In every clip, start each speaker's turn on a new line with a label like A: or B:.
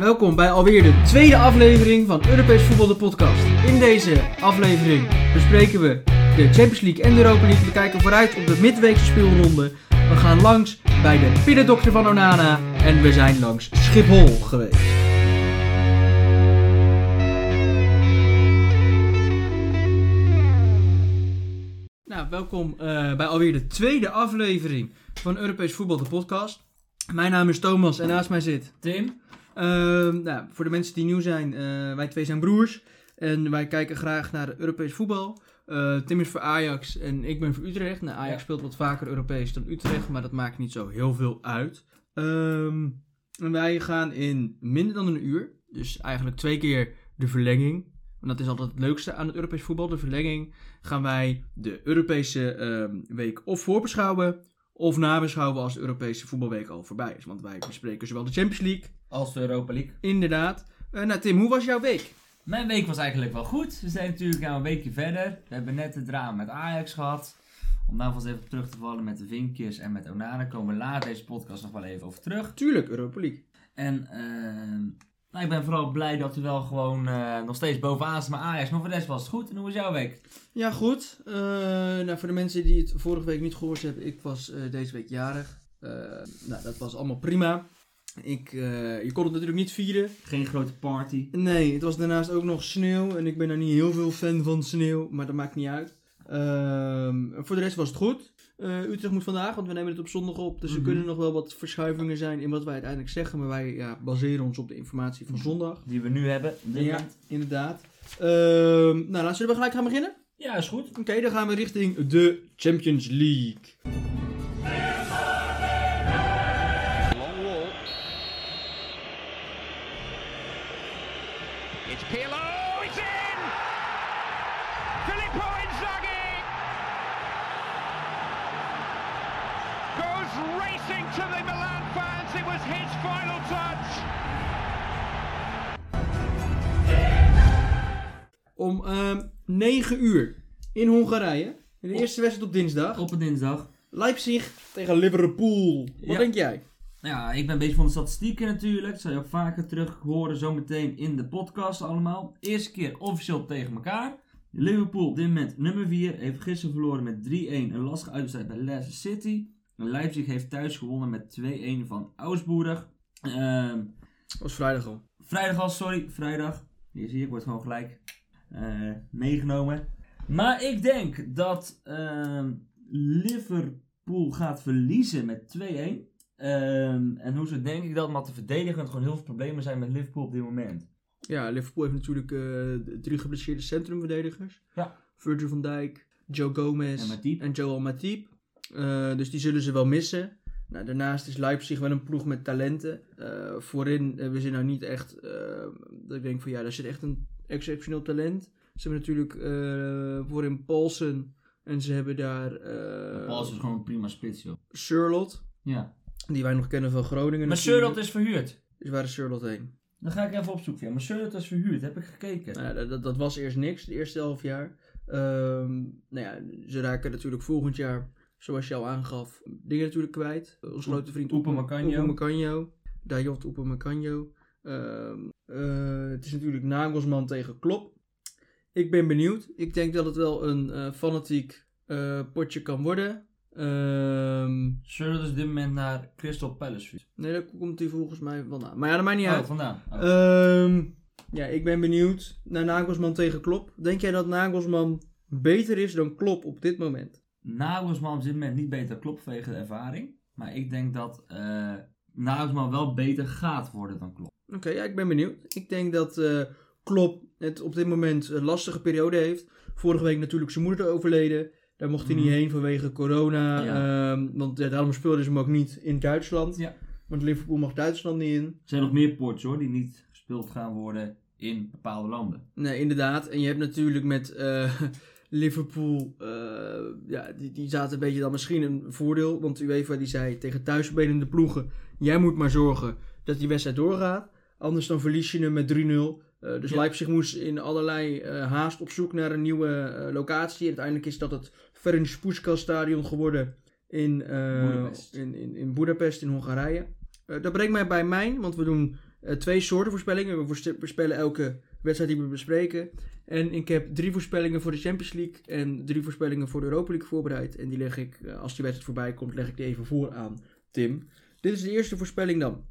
A: Welkom bij alweer de tweede aflevering van Europees Voetbal de Podcast. In deze aflevering bespreken we de Champions League en de Europa League. We kijken vooruit op de midweekse speelronde. We gaan langs bij de pinnendokter van Onana. En we zijn langs Schiphol geweest. Nou, welkom eh, bij alweer de tweede aflevering van Europees Voetbal de Podcast. Mijn naam is Thomas en naast mij zit Tim. nou, voor de mensen die nieuw zijn, eh, wij twee zijn broers. En wij kijken graag naar Europees voetbal. Eh, Tim is voor Ajax en ik ben voor Utrecht. Nou, Ajax
B: Ja.
A: speelt wat vaker Europees dan Utrecht, maar dat maakt niet zo heel veel uit. Ehm, en wij gaan in minder dan een uur, dus eigenlijk twee keer de verlenging. En dat is altijd het leukste aan het Europees voetbal, de verlenging. Gaan wij de Europese ehm, week of voorbeschouwen of nabeschouwen als de Europese voetbalweek al voorbij is. Want wij bespreken zowel de Champions League,
B: als de Europa League.
A: inderdaad. Eh, nou Tim, hoe was jouw week?
B: Mijn week was eigenlijk wel goed. We zijn natuurlijk nou een weekje verder. We hebben net het drama met Ajax gehad. Om daar vast even op terug te vallen met de vinkjes en met Onana komen we later deze podcast nog wel even over terug.
A: Tuurlijk, Europa League.
B: En ehm, nou, ik ben vooral blij dat we wel gewoon eh, nog steeds bovenaan staan met Ajax. Maar voor de rest was het goed. En hoe was jouw week?
A: Ja, goed. Eh, nou, voor de mensen die het vorige week niet gehoord hebben, ik was eh, deze week jarig. Eh, nou, dat was allemaal prima. Ik, eh, je kon het natuurlijk niet vieren.
B: Geen grote party.
A: Nee, het was daarnaast ook nog sneeuw. En ik ben daar niet heel veel fan van sneeuw, maar dat maakt niet uit. Ehm, voor de rest was het goed. Eh, Utrecht moet vandaag, want we nemen het op zondag op. Dus
B: Mhm.
A: er kunnen nog wel wat verschuivingen zijn in wat wij uiteindelijk zeggen. Maar wij ja, baseren ons op de informatie van zondag.
B: Die we nu hebben. op dit
A: Ja,
B: moment.
A: inderdaad. Ehm, nou, laten we gelijk gaan beginnen.
B: ja, is goed.
A: Oké, dan gaan we richting de Champions League.
C: Long wall. It's Pirlo. It's in. Filippo Inzaghi goes racing to the Milan fans. It was his final touch.
A: Om ehm 9 uur in Hongarije. De eerste wedstrijd op dinsdag.
B: Op een dinsdag.
A: Leipzig tegen Liverpool. Wat
B: Ja.
A: denk jij?
B: Nou ja, ik ben bezig van de statistieken natuurlijk. Dat zal je ook vaker terug horen zometeen in de podcast allemaal. Eerste keer officieel tegen elkaar. Liverpool op dit moment nummer 4. Heeft gisteren verloren met 3-1. Een lastige uitwedstrijd bij Leicester City. En Leipzig heeft thuis gewonnen met 2-1 van Augsburg. Ehm,
A: Dat was vrijdag al.
B: vrijdag al, sorry. Vrijdag. Hier zie je, ik word gewoon gelijk eh, meegenomen. Maar ik denk dat ehm, Liverpool gaat verliezen met 2-1. Ehm, en hoezo denk ik dat? Omdat de verdedigend gewoon heel veel problemen zijn met Liverpool op dit moment.
A: Ja, Liverpool heeft natuurlijk eh, de drie geblesseerde centrumverdedigers.
B: Ja.
A: Virgil van Dijk, Joe Gomez
B: En Matip.
A: Joel Matip. Eh, dus die zullen ze wel missen. Nou, daarnaast is Leipzig wel een ploeg met talenten. Eh, voorin hebben ze nou niet echt... eh, dat ik denk van ja, daar zit echt een exceptioneel talent. Ze hebben natuurlijk eh, voorin Paulsen. En ze hebben daar eh
B: Paulsen is dus gewoon een prima spits, joh.
A: Sherlock.
B: Ja.
A: Die wij nog kennen van Groningen.
B: Maar
A: natuurlijk.
B: Sherlock is verhuurd.
A: Dus waar is Sherlock heen?
B: Dan ga ik even op zoek. Ja, maar Sherlock is verhuurd, heb ik gekeken.
A: Nou ja, dat, dat, dat was eerst niks, de eerste half jaar. Ehm, nou ja, ze raken natuurlijk volgend jaar, zoals je al aangaf, dingen natuurlijk kwijt. Ons grote vriend
B: Oepen
A: Oepen-
B: Makanyo.
A: Oepen Makanyo. Dayot Oepen Makanyo. Ehm, eh, het is natuurlijk Nagelsman tegen Klop. Ik ben benieuwd. Ik denk dat het wel een eh, fanatiek eh, potje kan worden. Ehm,
B: Sherlock is op dit moment naar Crystal Palace verhuurd.
A: nee, daar komt hij volgens mij vandaan. Maar ja, dat maakt niet
B: Ja.
A: uit.
B: Oh, vandaan. Oh.
A: Ehm, ja, ik ben benieuwd naar Nagelsman tegen Klop. Denk jij dat Nagelsman beter is dan Klop op dit moment?
B: Nagelsman op dit moment niet beter klopt vanwege de ervaring. Maar ik denk dat eh Nagelsman wel beter gaat worden dan klopt.
A: Oké, ja, ik ben benieuwd. Ik denk dat eh Klop het op dit moment een lastige periode heeft. Vorige week natuurlijk zijn moeder overleden. Daar mocht hij
B: Mhm.
A: niet heen vanwege corona.
B: Ja.
A: ehm, want ja, daarom speelden ze hem ook niet in Duitsland.
B: Ja.
A: Want Liverpool mag Duitsland niet in.
B: Er zijn nog meer ports hoor, die niet gespeeld gaan worden in bepaalde landen.
A: Nee, inderdaad. En je hebt natuurlijk met eh, Liverpool, eh, ja, die, die zaten een beetje dan misschien een voordeel. Want UEFA die zei tegen thuisspelende ploegen, jij moet maar zorgen dat die wedstrijd doorgaat. Anders dan verlies je hem met 3-0. Eh, dus
B: Ja.
A: Leipzig moest in allerlei eh, haast op zoek naar een nieuwe eh, locatie. En uiteindelijk is dat het Ferenc Puskas stadion geworden in, eh
B: Boedapest.
A: in, in, in Budapest in Hongarije. Eh, dat brengt mij bij mijn, want we doen eh, twee soorten voorspellingen. We voorspe- voorspellen elke wedstrijd die we bespreken. En ik heb drie voorspellingen voor de Champions League en drie voorspellingen voor de Europa League voorbereid. En die leg ik, eh, als die wedstrijd voorbij komt, leg ik die even voor aan Tim. Dit is de eerste voorspelling dan.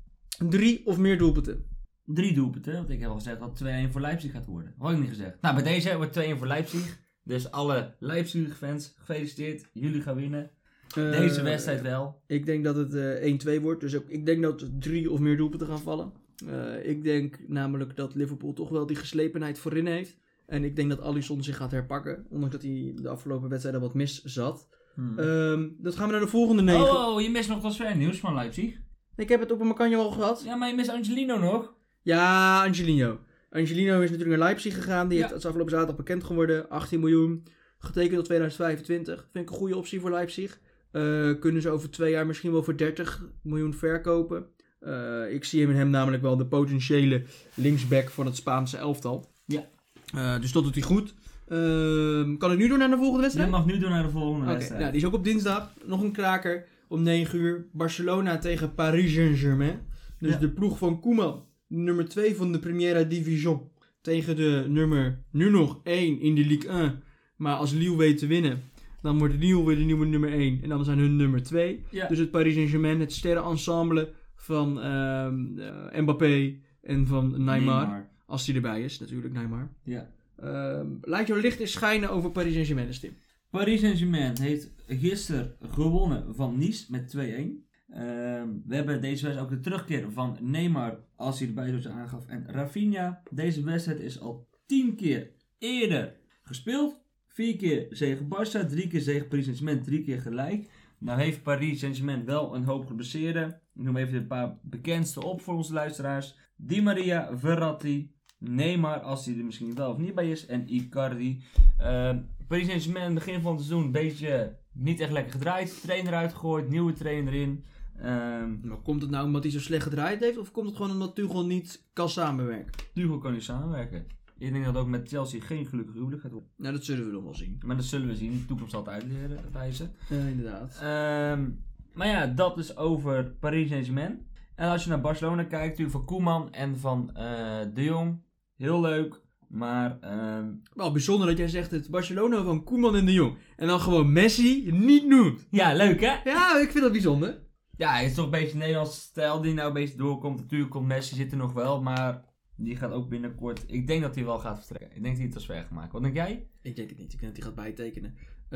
A: Drie of meer doelpunten.
B: Drie doelpunten, want ik heb al gezegd dat 2-1 voor Leipzig gaat worden. Had ik niet gezegd. Nou, bij deze hebben we 2-1 voor Leipzig. Dus alle Leipzig-fans, gefeliciteerd. Jullie gaan winnen. Deze
A: Eh,
B: wedstrijd wel.
A: Ik denk dat het eh 1-2 wordt. Dus ook, ik denk dat drie of meer doelpunten gaan vallen. Eh, ik denk namelijk dat Liverpool toch wel die geslepenheid voorin heeft. En ik denk dat Alisson zich gaat herpakken. Ondanks dat hij de afgelopen wedstrijden wat mis zat.
B: Hmm.
A: Ehm, dat gaan we naar de volgende negen.
B: Oh, oh, je mist nog transfernieuws van Leipzig.
A: Ik heb het op een makanje al gehad.
B: Ja, maar je mist Angelino nog.
A: Ja, Angelino. Angelino is natuurlijk naar Leipzig gegaan. Die
B: Ja.
A: heeft het afgelopen zaterdag bekend geworden. 18 miljoen. Getekend tot 2025. Vind ik een goede optie voor Leipzig. Eh, kunnen ze over twee jaar misschien wel voor 30 miljoen verkopen. Eh, ik zie hem in hem namelijk wel de potentiële linksback van het Spaanse elftal.
B: Ja.
A: Eh, dus dat doet hij goed. Ehm, kan ik nu door naar de volgende
B: Je
A: wedstrijd?
B: mag nu door naar de volgende
A: Oké,
B: wedstrijd.
A: nou, die is ook op dinsdag. Nog een kraker om 9 uur. Barcelona tegen Paris Saint-Germain. Dus
B: Ja.
A: de ploeg van Koeman, nummer 2 van de Primera Division. Tegen de nummer nu nog 1 in de Ligue 1. Maar als Lille weet te winnen, dan wordt Lille weer de nieuwe nummer 1. En dan zijn hun nummer 2.
B: Ja.
A: Dus het Paris Saint-Germain, het sterrenensemble van ehm, eh, Mbappé en van Neymar, Als die erbij is, natuurlijk Neymar.
B: Ja.
A: Ehm, laat jouw licht eens schijnen over Paris Saint-Germain, Tim.
B: Paris Saint-Germain heeft gisteren gewonnen van Nice met 2-1. Ehm, we hebben deze wedstrijd ook de terugkeer van Neymar, als hij erbij zoals aangaf, en Rafinha. Deze wedstrijd is al 10 keer eerder gespeeld. 4 keer tegen Barça, 3 keer tegen Paris Saint-Germain, 3 keer gelijk. Nou heeft Paris Saint-Germain wel een hoop geblesseerden. Ik noem even een paar bekendste op voor onze luisteraars. Di Maria, Verratti, Neymar, als hij er misschien wel of niet bij is, en Icardi. Ehm, Paris Saint-Germain in het begin van het seizoen een beetje niet echt lekker gedraaid. Trainer uitgegooid, nieuwe trainer in. Ehm
A: Maar komt het nou omdat hij zo slecht gedraaid heeft? Of komt het gewoon omdat Tuchel niet kan samenwerken?
B: Tuchel kan nu samenwerken. Ik denk dat het ook met Chelsea geen gelukkig huwelijk gaat worden.
A: Nou, dat zullen we nog wel zien.
B: Maar dat zullen we zien. De toekomst zal het uitleren, wijzen.
A: Eh, inderdaad.
B: Ehm, maar ja, dat is over Paris Saint-Germain. En als je naar Barcelona kijkt, natuurlijk van Koeman en van eh, De Jong. Heel leuk. Maar ehm,
A: Wel bijzonder dat jij zegt het Barcelona van Koeman en de Jong. En dan gewoon Messi niet noemt.
B: ja, leuk hè?
A: Ja, ik vind dat bijzonder.
B: Ja, het is toch een beetje Nederlands stijl die nou een beetje doorkomt. Natuurlijk komt Messi zit er nog wel, maar die gaat ook binnenkort. Ik denk dat hij wel gaat vertrekken. Ik denk dat hij het transfer gaat maken. Wat denk jij?
A: Ik denk het niet. Ik denk dat hij gaat bijtekenen.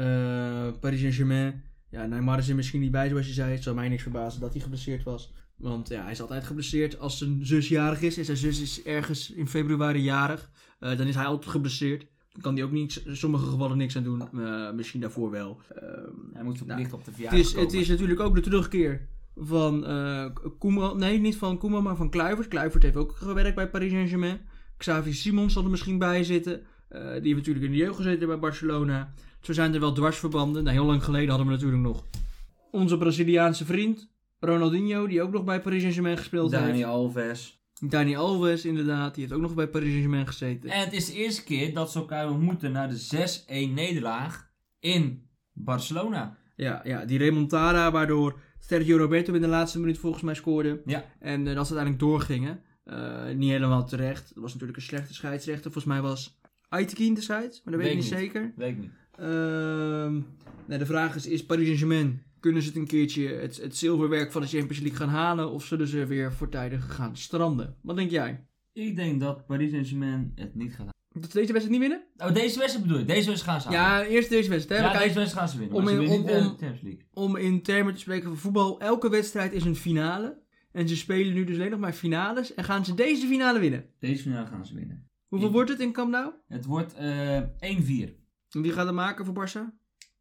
A: Eh, Paris Saint-Germain. Ja, Neymar is er misschien niet bij zoals je zei. Het zou mij niks verbazen dat hij geblesseerd was. Want ja, hij is altijd geblesseerd als zijn zus jarig is. En zijn zus is ergens in februari jarig. Eh, dan is hij altijd geblesseerd. Dan kan hij ook niet, in sommige gevallen niks aan doen. Eh, misschien daarvoor wel. Ehm,
B: Hij moet verplicht op de
A: Het
B: verjaardag
A: is, het is natuurlijk ook de terugkeer van eh Koeman. Nee, niet van Koeman, maar van Kluivert. Kluivert heeft ook gewerkt bij Paris Saint-Germain. Xavi Simons zal er misschien bij zitten. Eh, die heeft natuurlijk in de jeugd gezeten bij Barcelona. Zo zijn er wel dwarsverbanden. Nou, heel lang geleden hadden we natuurlijk nog onze Braziliaanse vriend Ronaldinho, die ook nog bij Paris Saint-Germain gespeeld
B: Dani
A: heeft.
B: Alves.
A: Dani Alves, inderdaad, die heeft ook nog bij Paris Saint-Germain gezeten.
B: En het is de eerste keer dat ze elkaar ontmoeten na de 6-1 nederlaag in Barcelona.
A: Ja, ja, die remontada waardoor Sergio Roberto in de laatste minuut volgens mij scoorde.
B: Ja.
A: En eh, dat ze uiteindelijk doorgingen. Eh, niet helemaal terecht. Dat was natuurlijk een slechte scheidsrechter. Volgens mij was Aitekin de scheids, maar dat weet ik
B: Weet
A: niet
B: ik niet.
A: zeker.
B: Weet ik niet.
A: Ehm, nou, de vraag is, is Paris Saint-Germain, kunnen ze het een keertje het, het zilverwerk van de Champions League gaan halen? Of zullen ze weer voortijdig gaan stranden? Wat denk jij?
B: Ik denk dat Paris Saint-Germain het niet gaat
A: Dat ze deze wedstrijd niet winnen?
B: halen. Oh, deze wedstrijd bedoel je? Deze wedstrijd gaan ze halen.
A: Ja, eerst deze wedstrijd. hè.
B: Nou. Ja,
A: We kijken-
B: deze wedstrijd gaan ze winnen.
A: om
B: Om, ze
A: in-
B: winnen
A: om-
B: niet de
A: om-
B: Champions League.
A: om in termen te spreken van voetbal, elke wedstrijd is een finale. En ze spelen nu dus alleen nog maar finales. En gaan ze deze finale winnen?
B: Deze finale gaan ze winnen.
A: Hoeveel
B: Ja.
A: wordt het in Camp Nou?
B: Het wordt eh 1-4.
A: En wie gaat het maken voor Barça?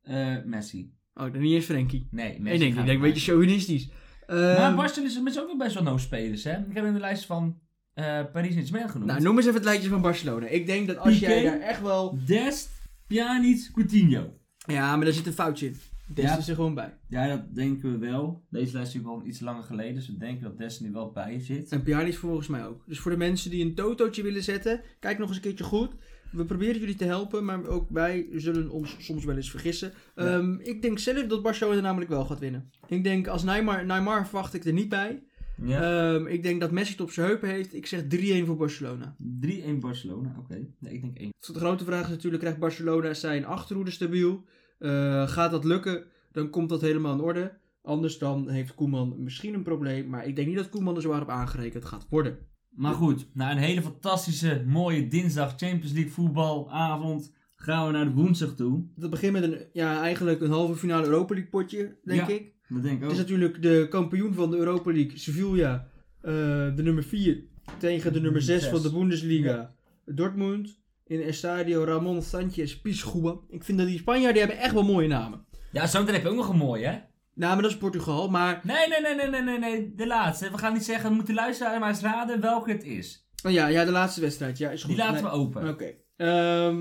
B: Eh, Messi.
A: Oh, dan niet eens Frenkie.
B: Nee,
A: Nee,
B: Messi.
A: nee, ik
B: gaat
A: denk een
B: het
A: beetje chauvinistisch.
B: maken.
A: Ehm,
B: Maar Barcelona is met ook nog best wel no-spelers, hè? Ik heb in de lijst van eh Paris Saint-Germain genoemd.
A: nou, noem eens even het lijstje van Barcelona. Ik denk dat als
B: Piqué?
A: jij daar echt wel...
B: Dest, Pjanic, Coutinho.
A: Ja, maar daar zit een foutje in. Des
B: Ja.
A: is er gewoon bij.
B: Ja, dat denken we wel. Deze lijst is natuurlijk wel iets langer geleden, dus we denken dat Dest nu wel bij zit.
A: En Pjanic volgens mij ook. Dus voor de mensen die een totootje willen zetten, kijk nog eens een keertje goed. We proberen jullie te helpen, maar ook wij zullen ons soms wel eens vergissen. Ehm, ik denk zelf dat Barcelona namelijk wel gaat winnen. Ik denk als Neymar, Neymar verwacht ik er niet bij.
B: Ja.
A: Ehm, ik denk dat Messi het op zijn heupen heeft. Ik zeg 3-1 voor Barcelona.
B: 3-1 Barcelona, oké. Nee, ik denk 1.
A: De grote vraag is natuurlijk, krijgt Barcelona zijn achterhoede stabiel? Eh, gaat dat lukken? Dan komt dat helemaal in orde. Anders dan heeft Koeman misschien een probleem. Maar ik denk niet dat Koeman er zwaar op aangerekend gaat worden.
B: Maar goed, na een hele fantastische, mooie dinsdag Champions League voetbalavond gaan we naar de woensdag toe.
A: Dat begint met een, ja, eigenlijk een halve finale Europa League potje, denk
B: Ja.
A: ik.
B: Dat denk ik
A: Het is
B: ook.
A: natuurlijk de kampioen van de Europa League, Sevilla. eh, de nummer 4 tegen de nummer 6
B: Zes.
A: van de Bundesliga, Dortmund. In Estadio Ramon Sanchez Pizjuan. Ik vind dat die Spanjaarden hebben echt wel mooie namen.
B: Ja, zo heb je ook nog een mooie, hè?
A: Nou, maar dat is Portugal. Maar
B: Nee, nee, nee, nee, nee, nee, nee. De laatste. We gaan niet zeggen, we moeten luisteren, maar eens raden welke het is.
A: oh ja, ja, de laatste wedstrijd. Ja, is goed.
B: Die laten
A: Nee.
B: we open.
A: Oké. Ehm,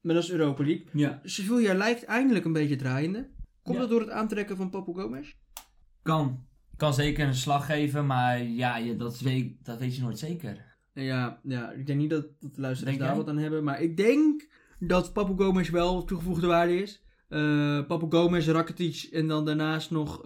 A: maar dat is Europa League.
B: Ja.
A: Sevilla lijkt eindelijk een beetje draaiende. Komt
B: Ja.
A: dat door het aantrekken van Papu Gomez?
B: Kan. Kan zeker een slag geven, maar ja, je, dat, weet, dat weet je nooit zeker.
A: Nou Ja, ja, ik denk niet dat, dat de luisteraars
B: Denk
A: daar
B: jij?
A: wat aan hebben. Maar ik denk dat Papu Gomez wel toegevoegde waarde is. Eh Papu Gomez, Rakitic en dan daarnaast nog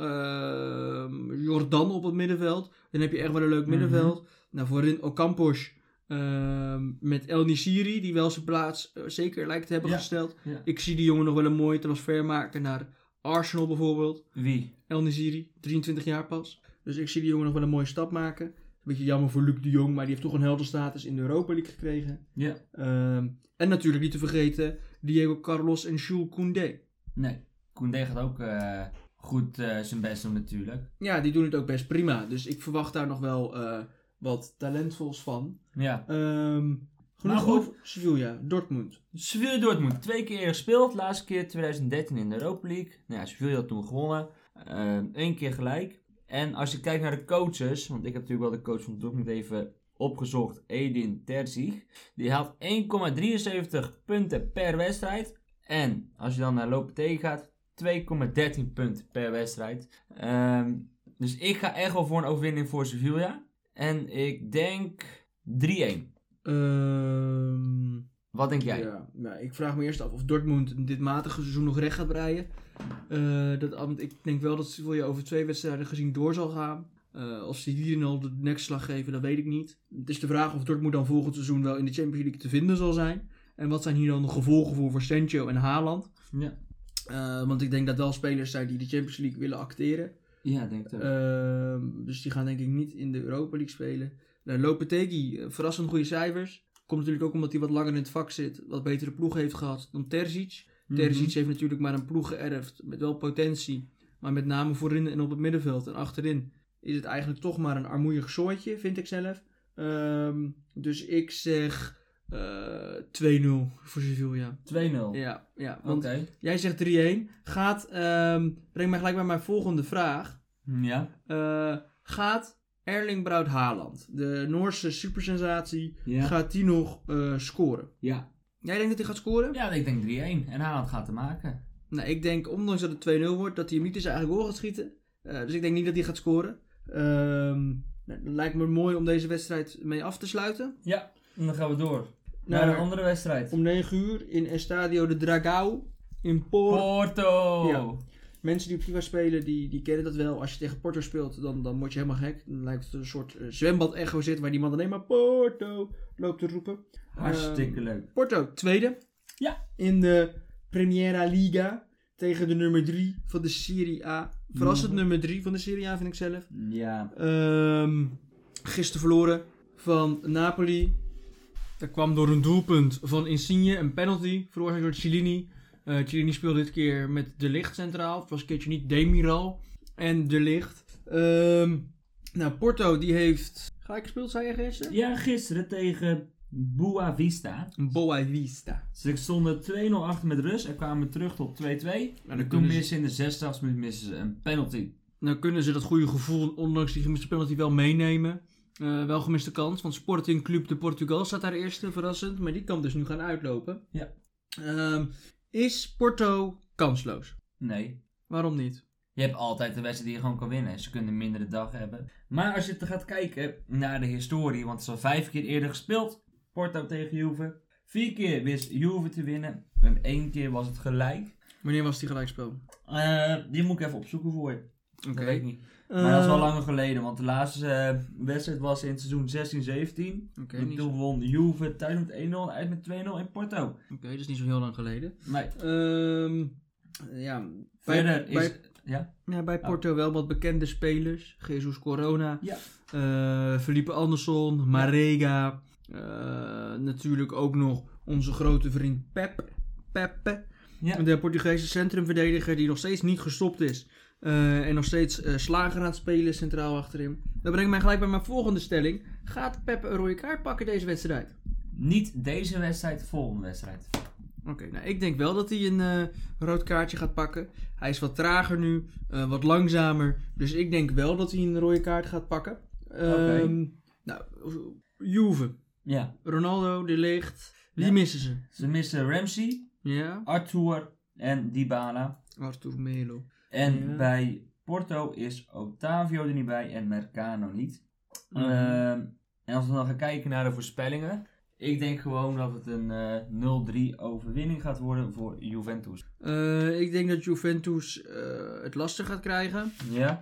A: ehm, Jordan op het middenveld. Dan heb je echt wel een leuk
B: Mhm.
A: middenveld. Nou, voorin Ocampos ehm, met El Nisiri, die wel zijn plaats eh, zeker lijkt te hebben
B: Ja.
A: gesteld.
B: Ja.
A: Ik zie die jongen nog wel een mooie transfer maken naar Arsenal bijvoorbeeld.
B: Wie?
A: El Niziri, 23 jaar pas. Dus ik zie die jongen nog wel een mooie stap maken. Een beetje jammer voor Luc de Jong, maar die heeft toch een heldenstatus in de Europa League gekregen.
B: Ja.
A: Ehm, en natuurlijk niet te vergeten Diego Carlos en Jules Koundé.
B: Nee. Koendé gaat ook eh, goed eh, zijn best doen natuurlijk.
A: Ja, die doen het ook best prima. Dus ik verwacht daar nog wel eh, wat talentvols van.
B: Ja.
A: Ehm genoeg
B: goed.
A: over Sevilla, Dortmund.
B: Dus Sevilla Dortmund, twee keer gespeeld. Laatste keer 2013 in de Europa League. Nou ja, Sevilla had toen gewonnen. Eén keer gelijk. En als je kijkt naar de coaches, want ik heb natuurlijk wel de coach van Dortmund even opgezocht, Edin Terzic. Die haalt 1,73 punten per wedstrijd. En als je dan naar Lopetegui gaat, 2,13 punten per wedstrijd. Ehm, dus ik ga echt wel voor een overwinning voor Sevilla. En ik denk 3-1.
A: Ehm,
B: Wat denk jij?
A: Ja, maar ik vraag me eerst af of Dortmund dit matige seizoen nog recht gaat breien. Eh, dat, want ik denk wel dat Sevilla over twee wedstrijden gezien door zal gaan. Eh, of ze hierin al de nekslag geven, dat weet ik niet. Het is de vraag of Dortmund dan volgend seizoen wel in de Champions League te vinden zal zijn. En wat zijn hier dan de gevolgen voor voor Sancho en Haaland?
B: Ja,
A: Eh, want ik denk dat wel spelers zijn die de Champions League willen acteren.
B: ja denk ik ook.
A: Ehm, dus die gaan denk ik niet in de Europa League spelen. Nou, Lopetegui, eh, verrassend goede cijfers. Komt natuurlijk ook omdat hij wat langer in het vak zit. Wat betere ploeg heeft gehad dan Terzic. Eh,
B: Mhm.
A: Terzic heeft natuurlijk maar een ploeg geërfd met wel potentie. Maar met name voorin en op het middenveld en achterin is het eigenlijk toch maar een armoeig zooitje, vind ik zelf. Ehm, dus ik zeg eh, 2-0 voor Sevilla.
B: 2-0.
A: Ja, ja
B: Oké.
A: want jij zegt 3-1. Gaat, ehm breng mij gelijk bij mijn volgende vraag.
B: Ja.
A: Eh, gaat Erling Braut Haaland, de Noorse supersensatie,
B: Ja.
A: gaat die nog eh, scoren?
B: ja.
A: Jij denkt dat hij gaat scoren?
B: Ja, ik denk 3-1. En Haaland gaat te maken.
A: Nou, ik denk, ondanks dat het 2-0 wordt, dat hij hem niet in zijn eigen goal gaat schieten. Eh, dus ik denk niet dat hij gaat scoren. Ehm, nou, het lijkt me mooi om deze wedstrijd mee af te sluiten.
B: Ja. En dan gaan we door.
A: Naar
B: Naar
A: een
B: een andere wedstrijd.
A: Om 9 uur in Estadio de Dragão in Por.
B: Porto.
A: Ja. Mensen die op FIFA spelen, die, die kennen dat wel. Als je tegen Porto speelt, dan, dan word je helemaal gek. Dan lijkt het een soort eh, zwembad-echo zit, waar die man alleen maar Porto loopt te roepen.
B: Hartstikke
A: Ehm,
B: leuk.
A: Porto, tweede.
B: Ja.
A: In de Premiera Liga tegen de nummer 3 van de Serie A. Verrassend
B: Ja.
A: nummer 3 van de Serie A, vind ik zelf.
B: Ja.
A: Ehm, gisteren verloren van Napoli. Dat kwam door een doelpunt van Insigne, een penalty, veroorzaakt door Cellini. Eh Cellini speelde dit keer met De Ligt centraal. Het was een keertje niet Demiral en De Ligt. Ehm, nou, Porto die heeft... Gelijk gespeeld, zei je gisteren?
B: Ja, gisteren tegen Boa Vista.
A: Boa Vista.
B: Ze stonden 2-0 achter met rust en kwamen terug tot 2-2.
A: dan
B: en toen
A: kunnen ze-
B: missen in de 60 minuut missen ze een penalty.
A: Nou kunnen ze dat goede gevoel, ondanks die gemiste penalty, wel meenemen. Eh, wel gemiste kans, want Sporting Club de Portugal staat daar eerste, verrassend. Maar die kan dus nu gaan uitlopen.
B: Ja.
A: Ehm, is Porto kansloos?
B: Nee.
A: Waarom niet?
B: Je hebt altijd een wedstrijd die je gewoon kan winnen. Ze kunnen een mindere dag hebben. Maar als je te gaat kijken naar de historie, want ze is al vijf keer eerder gespeeld. Porto tegen Juve. Vier keer wist Juve te winnen. En één keer was het gelijk.
A: Wanneer was die gelijkspel?
B: Eh, die moet ik even opzoeken voor je. Dat weet ik niet. Maar
A: Ehm,
B: dat is
A: Eh.
B: wel langer geleden, want de laatste eh, wedstrijd was in het seizoen 16-17.
A: Oké,
B: En
A: niet zo-
B: toen won Juve thuis met 1-0 en uit met 2-0 in Porto.
A: oké, dat is niet zo heel lang geleden.
B: Maar
A: Ehm, ja,
B: verder
A: bij-
B: is... ja?
A: ja, bij Porto wel wat bekende spelers. Jesus Corona,
B: Ja.
A: eh, Felipe Anderson, Marega. eh, natuurlijk ook nog onze grote vriend Pep. Pepe.
B: Ja.
A: De Portugese centrumverdediger die nog steeds niet gestopt is. eh, en nog steeds eh, slager aan het spelen is centraal achterin. Dat brengt mij gelijk bij mijn volgende stelling. Gaat Pep een rode kaart pakken deze wedstrijd?
B: Niet deze wedstrijd, de volgende wedstrijd.
A: Oké, nou ik denk wel dat hij een eh, rood kaartje gaat pakken. Hij is wat trager nu, eh, wat langzamer. Dus ik denk wel dat hij een rode kaart gaat pakken. Ehm, Nou, Juve,
B: Ja.
A: Ronaldo, De Ligt. Wie
B: Ja.
A: missen ze?
B: Ze missen Ramsey,
A: Ja,
B: Arthur en Dybala.
A: Arthur Melo.
B: En
A: Ja.
B: bij Porto is Otavio er niet bij en Mercano niet. Ehm, en als we dan gaan kijken naar de voorspellingen. Ik denk gewoon dat het een eh 0-3 overwinning gaat worden voor Juventus.
A: Eh, ik denk dat Juventus eh, het lastig gaat krijgen.
B: Ja?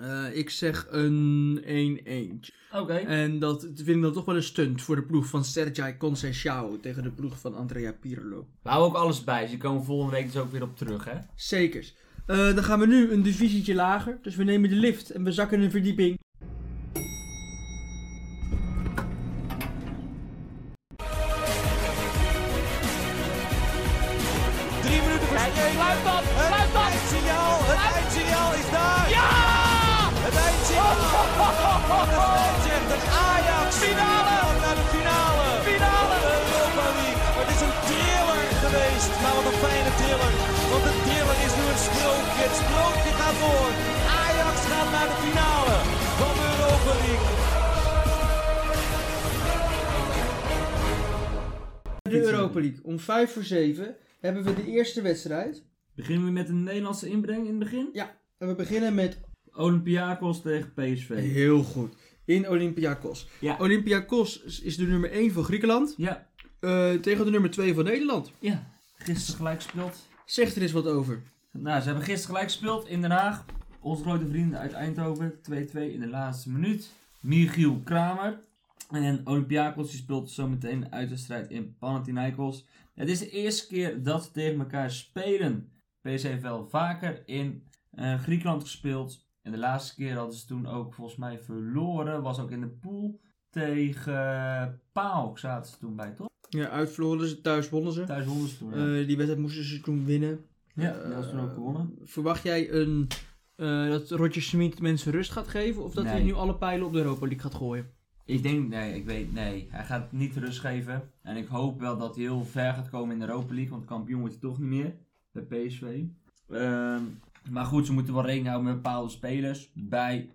A: Eh, ik zeg een 1-1.
B: Oké.
A: En dat vind ik dan toch wel een stunt voor de ploeg van Sergio Conceição tegen de ploeg van Andrea Pirlo.
B: We houden ook alles bij. Ze komen volgende week dus ook weer op terug, hè?
A: Zekers. Eh, dan gaan we nu een divisietje lager. Dus we nemen de lift en we zakken een verdieping.
D: Drie minuten voor Sluit eh, dat, sluit dat! Het eindsignaal, het eindsignaal is daar! Ja! Het eindsignaal! De scheidsrechter Ajax! Finale! Naar de finale! Finale! De Europa League! Het is een thriller geweest, maar wat een fijne thriller! Want de thriller is nu een sprookje, het sprookje gaat door! Ajax gaat naar de finale van de Europa League!
A: De Europa League. Om 5 voor 7 hebben we de eerste wedstrijd.
B: Beginnen we met een Nederlandse inbreng in het begin?
A: Ja, en we beginnen met
B: Olympiakos tegen PSV.
A: heel goed. In Olympiakos.
B: Ja.
A: Olympiakos is- is de nummer 1 van Griekenland.
B: Ja.
A: eh, tegen de nummer 2 van Nederland.
B: Ja. Gisteren gelijk gespeeld.
A: Zeg er eens wat over.
B: Nou, ze hebben gisteren gelijk gespeeld in Den Haag. Onze grote vrienden uit Eindhoven. 2-2 in de laatste minuut. Michiel Kramer. En Olympiakos die speelt zometeen de uitwedstrijd in Panathinaikos. Het is de eerste keer dat ze tegen elkaar spelen. PSV heeft wel vaker in eh, Griekenland gespeeld. En de laatste keer hadden ze toen ook volgens mij verloren. Was ook in de pool tegen eh, PAOK zaten ze toen bij, toch?
A: Ja, uitverloren ze, thuis wonnen ze.
B: Thuis wonnen ze toen. ja.
A: Eh, die wedstrijd moesten ze toen winnen.
B: ja, dat was toen ook gewonnen.
A: Verwacht jij een, eh, dat Roger Smit mensen rust gaat geven? Of dat hij
B: Nee.
A: nu alle pijlen op de Europa League gaat gooien?
B: Ik denk, nee, ik weet, nee. Hij gaat niet rust geven. En ik hoop wel dat hij heel ver gaat komen in de Europa League, want kampioen wordt hij toch niet meer. Bij PSV. Ehm, maar goed, ze moeten wel rekening houden met bepaalde spelers. Bij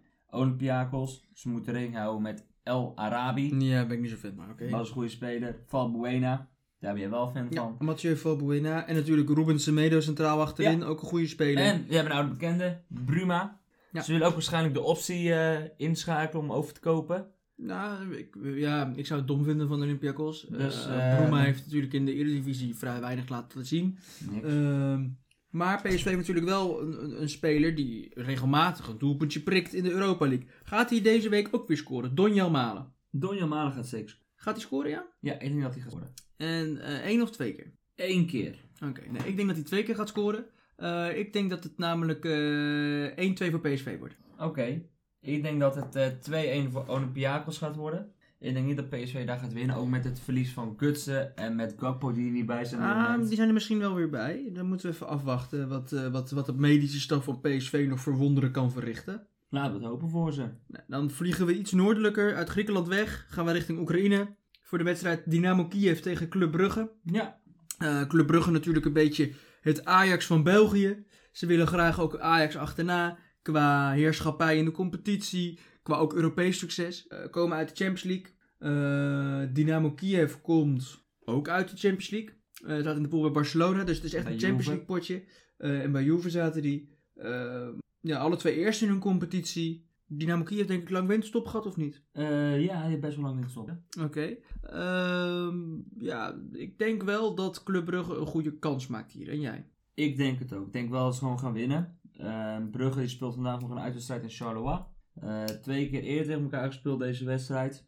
B: Olympiakos. Ze moeten rekening houden met El Arabi.
A: Ja, ben ik niet zo fan, maar oké.
B: Dat is een goede speler. Valbuena. Daar ben je wel fan
A: Ja,
B: van.
A: Mathieu Valbuena en natuurlijk Ruben Semedo centraal achterin, ook een goede speler.
B: En we hebben een oude bekende, Bruma.
A: Ja.
B: Ze willen ook waarschijnlijk de optie eh, inschakelen om over te kopen.
A: Nou, ik, ja, ik zou het dom vinden van Olympiakos.
B: Dus,
A: Dus,
B: eh,
A: Bruma heeft natuurlijk in de Eredivisie vrij weinig laten zien. Ehm, maar PSV heeft natuurlijk wel een, een, een speler die regelmatig een doelpuntje prikt in de Europa League. Gaat hij deze week ook weer scoren? Donjel Malen.
B: Donjan Malen gaat seks.
A: Gaat hij scoren, ja?
B: Ja, ik denk dat hij gaat worden.
A: En eh, één of twee keer?
B: Eén keer.
A: Oké, nee, ik denk dat hij twee keer gaat scoren. Eh, ik denk dat het namelijk eh 1-2 voor PSV wordt.
B: Oké. Ik denk dat het eh 2-1 voor Olympiakos gaat worden. Ik denk niet dat PSV daar gaat winnen. Ook met het verlies van Gutsen en met Gakpo die er niet bij zijn. op dit
A: Ah,
B: moment.
A: die zijn er misschien wel weer bij. Dan moeten we even afwachten wat, eh, wat, wat de medische staf van PSV nog voor wonderen kan verrichten.
B: Laten we het hopen voor ze.
A: Nou, dan vliegen we iets noordelijker uit Griekenland weg. Gaan we richting Oekraïne. Voor de wedstrijd Dynamo Kiev tegen Club Brugge.
B: Ja.
A: Eh, Club Brugge natuurlijk een beetje het Ajax van België. Ze willen graag ook Ajax achterna. Qua heerschappij in de competitie. Qua ook Europees succes. Eh, komen uit de Champions League. Eh, Dynamo Kiev komt ook uit de Champions League. Eh, Het staat in de pool bij Barcelona. Dus het is echt
B: Bij
A: een Champions
B: Juve.
A: League potje. Eh, en bij Juve zaten die. Eh, ja, alle twee eerst in hun competitie. Dynamo Kiev denk ik lang winststop gehad of niet?
B: Eh, ja, hij heeft best wel lang in gestopt.
A: Oké. Ehm, ja, ik denk wel dat Club Brugge een goede kans maakt hier. En jij?
B: Ik denk het ook. Ik denk wel dat ze gewoon gaan winnen. Eh, Ehm, Brugge die speelt vandaag nog een uitwedstrijd in Charleroi. Eh, twee keer eerder tegen elkaar gespeeld deze wedstrijd.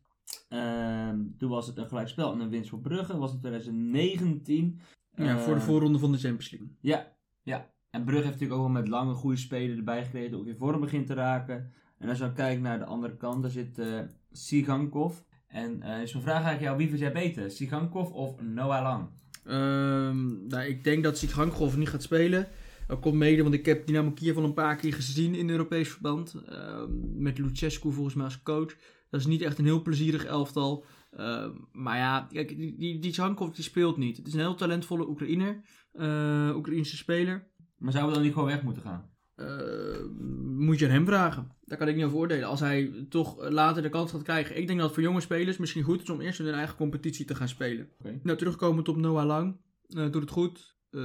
B: Ehm, toen was het een gelijkspel en een winst voor Brugge. was in 2019.
A: Ja, voor de
B: Ehm,
A: voorronde van de Champions League.
B: ja, ja. En Brugge heeft natuurlijk ook wel met lange goede spelers erbij gekregen. Ook in vorm begint te raken. En als je dan kijkt naar de andere kant, daar zit eh Sigankov. En eh is mijn vraag eigenlijk jou, wie vind jij beter? Sigankov of Noah Lang?
A: Ehm, nou, ik denk dat Sigankov niet gaat spelen. Dat komt mede, want ik heb Dynamo Kiev al een paar keer gezien in Europees verband. Ehm, met Luchescu volgens mij als coach. Dat is niet echt een heel plezierig elftal. Ehm, maar ja, kijk, die, die, die Sigankov die speelt niet. Het is een heel talentvolle Oekraïner. eh Oekraïnse speler.
B: Maar zouden we dan niet gewoon weg moeten gaan?
A: Eh, moet je aan hem vragen. Daar kan ik niet over oordelen. Als hij toch later de kans gaat krijgen. Ik denk dat het voor jonge spelers misschien goed is om eerst in hun eigen competitie te gaan spelen.
B: Oké.
A: Nou, terugkomend op Noah Lang. Eh, doet het goed. Eh,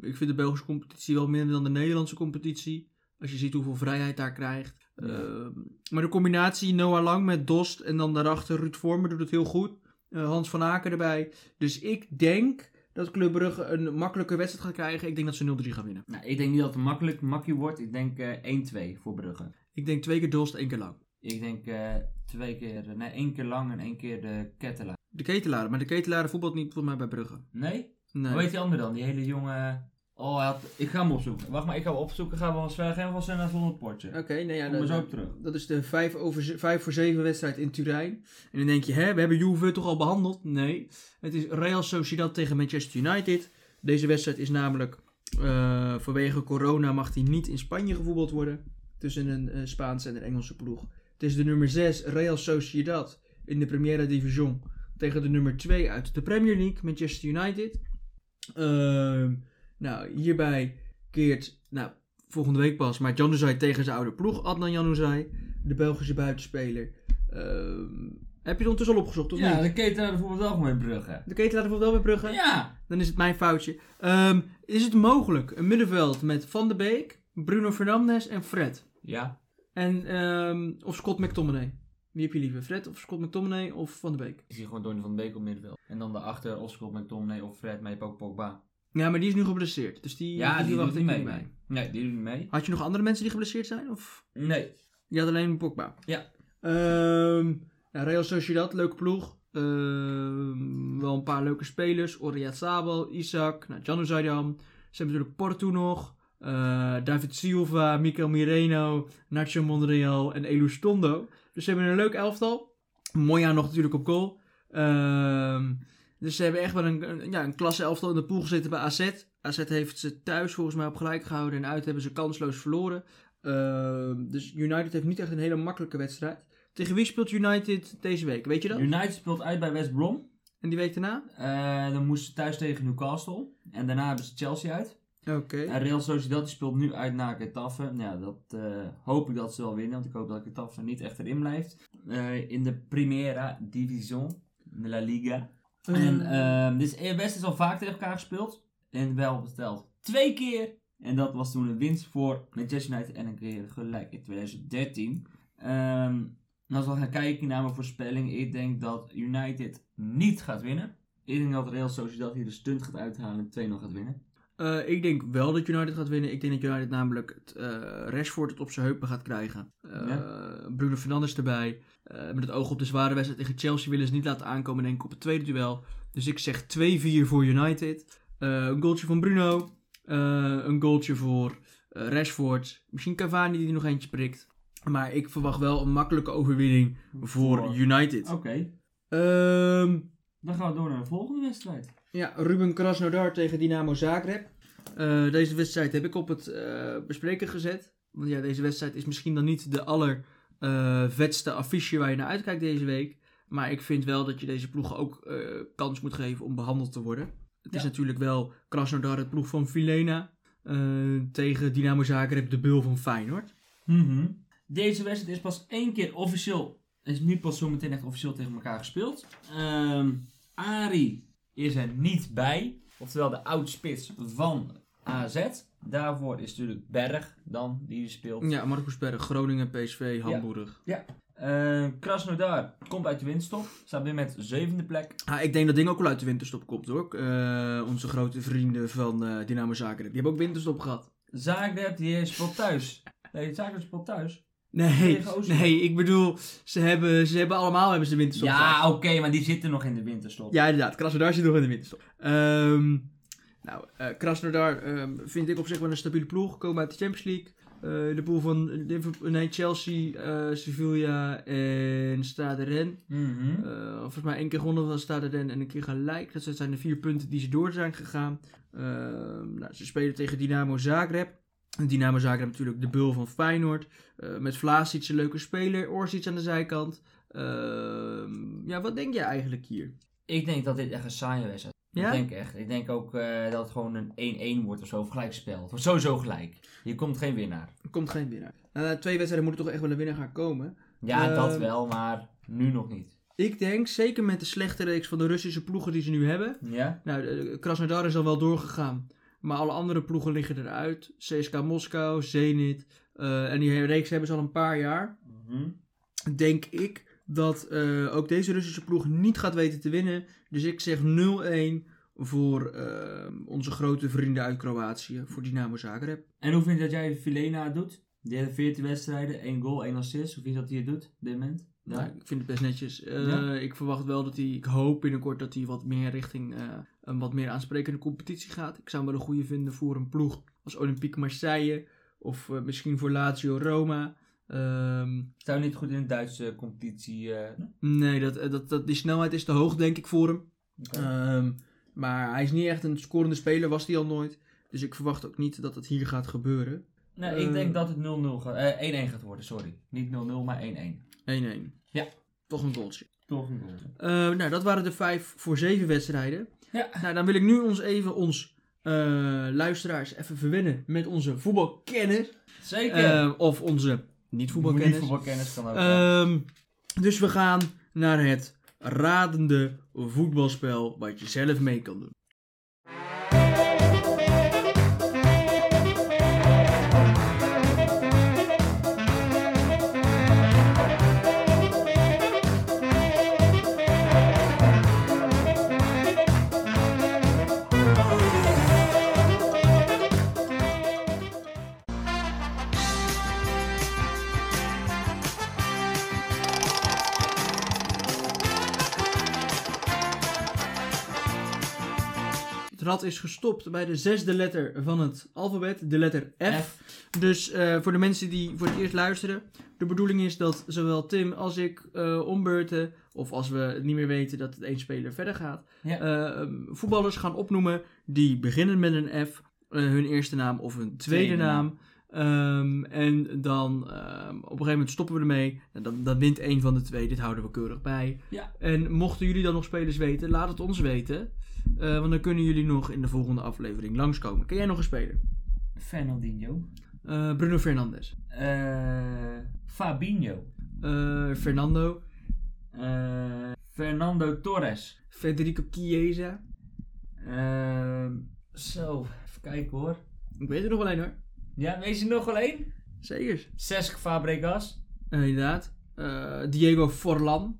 A: ik vind de Belgische competitie wel minder dan de Nederlandse competitie. Als je ziet hoeveel vrijheid daar krijgt.
B: Ja.
A: Eh, maar de combinatie Noah Lang met Dost en dan daarachter Ruud Vormer doet het heel goed. Eh, Hans van Aken erbij. Dus ik denk dat Club Brugge een makkelijke wedstrijd gaat krijgen. Ik denk dat ze 0-3 gaan winnen.
B: Nou, ik denk niet dat het makkelijk makkie wordt. Ik denk eh 1-2 voor Brugge.
A: Ik denk twee keer Dost, één keer Lang.
B: Ik denk eh, twee keer, nee, één keer lang en één keer de Kettela.
A: De ketelaren, maar de ketelaren voetbalt niet volgens mij bij Brugge.
B: Nee?
A: Nee.
B: Hoe heet die andere dan? Die hele jonge... Oh, hij had- ik ga hem opzoeken. Wacht maar, ik ga hem opzoeken. Gaan we wel verder gaan we wel snel naar het volgende potje.
A: Oké, nee, ja,
B: Kom maar
A: dat,
B: zo op terug.
A: dat is de 5, over, ze- vijf voor 7 wedstrijd in Turijn. En dan denk je, hè, we hebben Juve toch al behandeld? Nee, het is Real Sociedad tegen Manchester United. Deze wedstrijd is namelijk eh, vanwege corona mag die niet in Spanje gevoetbald worden. Tussen een eh, Spaanse en een Engelse ploeg. Het is de nummer 6 Real Sociedad in de Primera Division tegen de nummer 2 uit de Premier League, Manchester United. Ehm, nou, hierbij keert, nou, volgende week pas, maar Januzaj tegen zijn oude ploeg, Adnan Januzaj, de Belgische buitenspeler. Ehm, heb je het ondertussen al opgezocht, of
B: Ja,
A: niet?
B: de Kettela bijvoorbeeld wel gewoon met Brugge.
A: De keten laten bijvoorbeeld wel bij Brugge.
B: Ja!
A: Dan is het mijn foutje. Ehm, is het mogelijk een middenveld met Van de Beek, Bruno Fernandes en Fred?
B: Ja.
A: En, ehm, of Scott McTominay? Wie heb je liever, Fred of Scott McTominay of Van de Beek?
B: Ik zie gewoon Donny van de Beek op middenveld. En dan daarachter of Scott McDominay of Fred, maar je hebt ook Pogba.
A: Ja, maar die is nu geblesseerd, dus die,
B: Ja, die
A: wacht
B: doet niet
A: ik
B: mee. Nee, die doet niet mee.
A: Had je nog andere mensen die geblesseerd zijn? Of?
B: Nee.
A: Je had alleen Pogba.
B: Ja.
A: Ehm, ja, Real Sociedad, leuke ploeg. Ehm, wel een paar leuke spelers. Oriat Sabal, Isaac, nou, Janu Zaydam. Ze hebben natuurlijk Porto nog. eh, David Silva, Mikel Mireno, Nacho Monreal en Elustondo. Dus ze hebben een leuk elftal. Moya nog natuurlijk op goal. Ehm, dus ze hebben echt wel een, een- ja, een klasse elftal in de pool gezeten bij AZ. AZ heeft ze thuis volgens mij op gelijk gehouden en uit hebben ze kansloos verloren. Ehm, dus United heeft niet echt een hele makkelijke wedstrijd. Tegen wie speelt United deze week? Weet je dat?
B: United speelt uit bij West Brom.
A: En die week daarna?
B: Eh, dan moesten ze thuis tegen Newcastle. En daarna hebben ze Chelsea uit.
A: Oké.
B: En Real Sociedad die speelt nu uit naar Getafe. Nou Ja, dat eh, hoop ik dat ze wel winnen. Want ik hoop dat Getafe niet echt erin blijft. Eh, in de Primera Division. De La Liga.
A: Mhm.
B: En ehm dit is- West is al vaak tegen elkaar gespeeld. En wel besteld twee keer. En dat was toen een winst voor Manchester United en een keer gelijk in 2013. Ehm, en als we gaan kijken naar mijn voorspelling, ik denk dat United niet gaat winnen. Ik denk dat Real Sociedad hier de stunt gaat uithalen en 2-0 gaat winnen.
A: Eh, ik denk wel dat United gaat winnen. Ik denk dat United namelijk het, eh Rashford het op zijn heupen gaat krijgen. Eh, Bruno Fernandes erbij. Eh, met het oog op de zware wedstrijd tegen Chelsea willen ze niet laten aankomen, denk ik, op het tweede duel. Dus ik zeg 2-4 voor United. Eh, een goaltje van Bruno. Eh, een goaltje voor eh, Rashford. Misschien Cavani die er nog eentje prikt. Maar ik verwacht wel een makkelijke overwinning voor
B: Voor-
A: United.
B: Oké,
A: Ehm,
B: dan gaan we door naar de volgende wedstrijd.
A: ja, Ruben Krasnodar tegen Dynamo Zagreb. Eh, deze wedstrijd heb ik op het eh, bespreken gezet. Want ja, deze wedstrijd is misschien dan niet de allervetste affiche waar je naar uitkijkt deze week. Maar ik vind wel dat je deze ploegen ook eh, kans moet geven om behandeld te worden. Het is
B: Ja.
A: natuurlijk wel Krasnodar, het ploeg van Vilena. eh, tegen Dynamo Zagreb, de beul van Feyenoord.
B: Mhm. Deze wedstrijd is pas één keer officieel. Is nu pas zometeen echt officieel tegen elkaar gespeeld. Ehm Ari is er niet bij. Oftewel de oudspits van AZ. Daarvoor is natuurlijk Berg dan die speelt.
A: Ja, Marcus Berg, Groningen, PSV, Hamburg.
B: Eh, Krasnodar komt uit de winststop. Staat weer met zevende plek.
A: Ah, ik denk dat ding ook wel uit de winterstop komt hoor. Eh, onze grote vrienden van eh, Dynamo Zagreb. Die hebben ook winterstop gehad.
B: Zagreb die speelt thuis. Nee, Zagreb speelt thuis.
A: Nee,
B: Tegen Oostenrijk.
A: nee, ik bedoel, ze hebben, ze hebben allemaal hebben ze de winterstop. gehad.
B: Ja, oké, maar die zitten nog in de winterstop.
A: Ja, inderdaad. Krasnodar zit nog in de winterstop. Ehm, nou, eh Krasnodar ehm, vind ik op zich wel een stabiele ploeg. Komen uit de Champions League. Eh, de pool van Liverpool, nee, Chelsea, eh, Sevilla en Stade Rennes.
B: Mhm.
A: Eh, volgens mij één keer gewonnen van Stade Rennes en een keer gelijk. Dat zijn de vier punten die ze door zijn gegaan. Ehm, nou, ze spelen tegen Dynamo Zagreb. Dynamo Zagreb natuurlijk de bul van Feyenoord. Eh, met Vlaasic een leuke speler. Orsic aan de zijkant. Ehm, ja, wat denk jij eigenlijk hier?
B: Ik denk dat dit echt een saaie wedstrijd is.
A: Ja?
B: Ik denk echt. Ik denk ook eh, dat het gewoon een 1-1 wordt of zo. Of gelijkspel. Het wordt sowieso gelijk. Hier komt geen winnaar.
A: Er komt geen winnaar. Na twee wedstrijden moet er toch echt wel een winnaar gaan komen.
B: Ja,
A: Ehm.
B: dat wel, maar nu nog niet.
A: Ik denk, zeker met de slechte reeks van de Russische ploegen die ze nu hebben.
B: Ja?
A: Nou, de- de- Krasnodar is al wel doorgegaan. Maar alle andere ploegen liggen eruit. CSK Moskou, Zenit. eh, en die reeks hebben ze al een paar jaar.
B: Mhm.
A: Denk ik dat eh, ook deze Russische ploeg niet gaat weten te winnen. Dus ik zeg 0-1 voor eh, onze grote vrienden uit Kroatië. Voor Dynamo Zagreb.
B: En hoe vind je dat jij Filena het doet? Die heeft 14 wedstrijden, 1 goal, 1 assist. Hoe vind je dat hij het doet op dit moment?
A: Nou, ik vind het best netjes. Eh,
B: Ja.
A: Ik verwacht wel dat hij, ik hoop binnenkort dat hij wat meer richting eh, een wat meer aansprekende competitie gaat. Ik zou hem wel een goede vinden voor een ploeg als Olympique Marseille of eh, misschien voor Lazio Roma. Ehm,
B: Zou niet goed in de Duitse competitie. eh,
A: nee, dat, eh, dat, dat, die snelheid is te hoog denk ik voor hem.
B: Oké.
A: Ehm, maar hij is niet echt een scorende speler, was hij al nooit. Dus ik verwacht ook niet dat het hier gaat gebeuren.
B: Nee,
A: eh.
B: ik denk dat het 0-0 gaat. eh, 1-1 gaat worden, sorry. Niet 0-0, maar 1-1.
A: 1-1.
B: Ja.
A: Toch een goaltje.
B: Toch een goal.
A: Eh, nou, dat waren de vijf voor zeven wedstrijden.
B: Ja.
A: Nou, dan wil ik nu ons even ons eh, luisteraars even verwennen met onze voetbalkennis.
B: Zeker!
A: Eh, of onze niet-voetbalkennis.
B: Niet voetbalkennis Eh, kan ook.
A: Ehm, dus we gaan naar het radende voetbalspel wat je zelf mee kan doen. Het rad is gestopt bij de zesde letter van het alfabet, de letter F.
B: F.
A: Dus eh, voor de mensen die voor het eerst luisteren, de bedoeling is dat zowel Tim als ik eh ombeurten, of als we het niet meer weten dat het één speler verder gaat,
B: Ja.
A: eh, ehm, voetballers gaan opnoemen die beginnen met een F, eh, hun eerste naam of hun tweede,
B: Tweede
A: naam.
B: naam.
A: Ehm, en dan ehm, op een gegeven moment stoppen we ermee. En dan, dan wint één van de twee. Dit houden we keurig bij.
B: Ja.
A: En mochten jullie dan nog spelers weten, laat het ons weten. Eh, want dan kunnen jullie nog in de volgende aflevering langskomen. Ken jij nog een speler?
B: Fernandinho.
A: Eh, Bruno Fernandes.
B: Eh, Fabinho.
A: Eh, Fernando,
B: Eh, Fernando Torres.
A: Federico Chiesa.
B: Ehm, zo, even kijken hoor.
A: Ik weet er nog wel één hoor.
B: Ja, wees er nog wel één?
A: Zeker.
B: Cesc Fabregas.
A: Eh, inderdaad. Eh, Diego Forlan.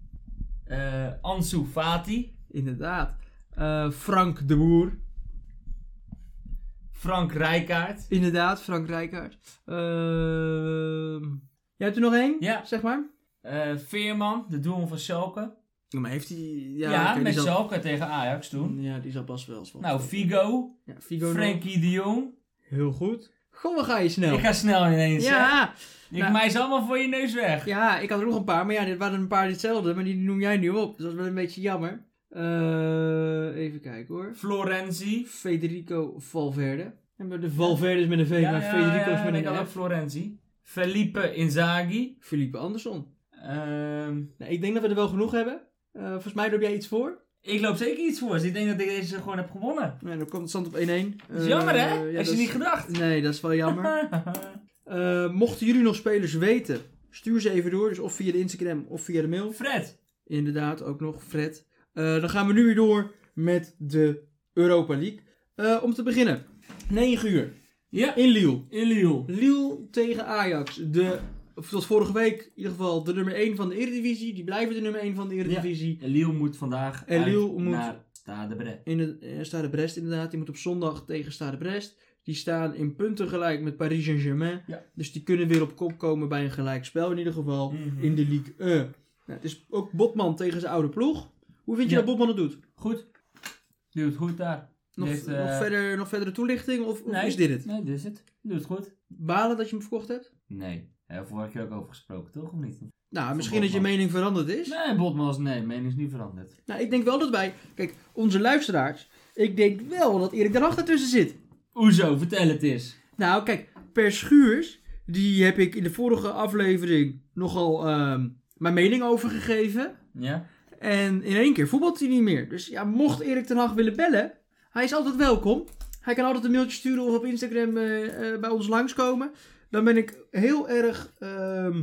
B: Eh, Ansu Fati.
A: Inderdaad. Eh, Frank de Boer.
B: Frank Rijkaard.
A: Inderdaad, Frank Rijkaard. Ehm, jij hebt er nog één?
B: Ja.
A: Zeg maar.
B: Eh, Veerman, de doelman van Schalke.
A: Ja, maar heeft hij... Ja,
B: Ja,
A: oké,
B: met
A: die zal,
B: Schalke tegen Ajax toen.
A: Ja, die zal pas wel eens wat- eh,
B: Nou, Figo.
A: ja, Figo nog.
B: Frenkie de Jong.
A: Heel goed. Goh, we gaan je snel.
B: Ik ga snel ineens. hè.
A: ja,
B: Ik
A: nou-
B: mij ze allemaal voor je neus weg.
A: ja, ik had er nog een paar. Maar ja, dit waren een paar hetzelfde. Maar die noem jij nu op. Dus dat is wel een beetje jammer. Eh, even kijken hoor.
B: Florenzi.
A: Federico Valverde. En we de Valverdes met een V, maar Federico's met
B: ik had
A: een
B: ook
A: F.
B: Florenzi. Felipe Inzaghi.
A: Felipe Anderson.
B: Ehm,
A: Nou, ik denk dat we er wel genoeg hebben. Eh, volgens mij doe jij iets voor.
B: ik loop zeker iets voor. Dus ik denk dat ik deze gewoon heb gewonnen.
A: Nou, dan komt het stand op 1-1. Dat
B: Dat is jammer hè? Had je niet gedacht?
A: Nee, dat is wel jammer. Eh, mochten jullie nog spelers weten, stuur ze even door. Dus of via de Instagram of via de mail.
B: Fred.
A: Inderdaad, ook nog Fred. Eh, dan gaan we nu weer door met de Europa League. Eh, om te beginnen, 9 uur
B: Ja.
A: in Lille.
B: In Lille.
A: Lille tegen Ajax. De, of tot vorige week in ieder geval de nummer 1 van de Eredivisie. Die blijven de nummer 1 van de Eredivisie.
B: En Lille moet vandaag
A: En
B: uit
A: Lille moet-
B: naar Stade Brest.
A: In de, eh, Stade Brest inderdaad. Die moet op zondag tegen Stade Brest. Die staan in punten gelijk met Paris Saint-Germain.
B: Ja.
A: Dus die kunnen weer op kop komen bij een gelijkspel in ieder geval.
B: Mhm.
A: In de Ligue 1. Nou, het is ook Botman tegen zijn oude ploeg. Hoe vind je
B: Ja.
A: dat Botman het doet?
B: Goed. Doe het goed daar.
A: Nog,
B: Heeft, eh,
A: nog, verder, nog verdere toelichting of, of
B: nee,
A: is dit het?
B: Nee, dit is het. Doe het goed.
A: Balen dat je hem verkocht hebt?
B: Nee. Daar heb vorige keer ook over gesproken, toch? Of niet?
A: Nou, misschien dat je
B: Botman.
A: mening veranderd is.
B: Nee, Botman is nee. Mening is niet veranderd.
A: Nou, ik denk wel dat wij... Kijk, onze luisteraars... Ik denk wel dat Erik de Hag ertussen zit.
B: Hoezo? Vertel het eens.
A: Nou, kijk, Per Schuurs, die heb ik in de vorige aflevering nogal ehm, mijn mening over gegeven.
B: Ja?
A: En in één keer voetbalt hij niet meer. Dus ja, mocht Erik ten Hag willen bellen, hij is altijd welkom. Hij kan altijd een mailtje sturen of op Instagram eh, eh, bij ons langskomen. Dan ben ik heel erg ehm,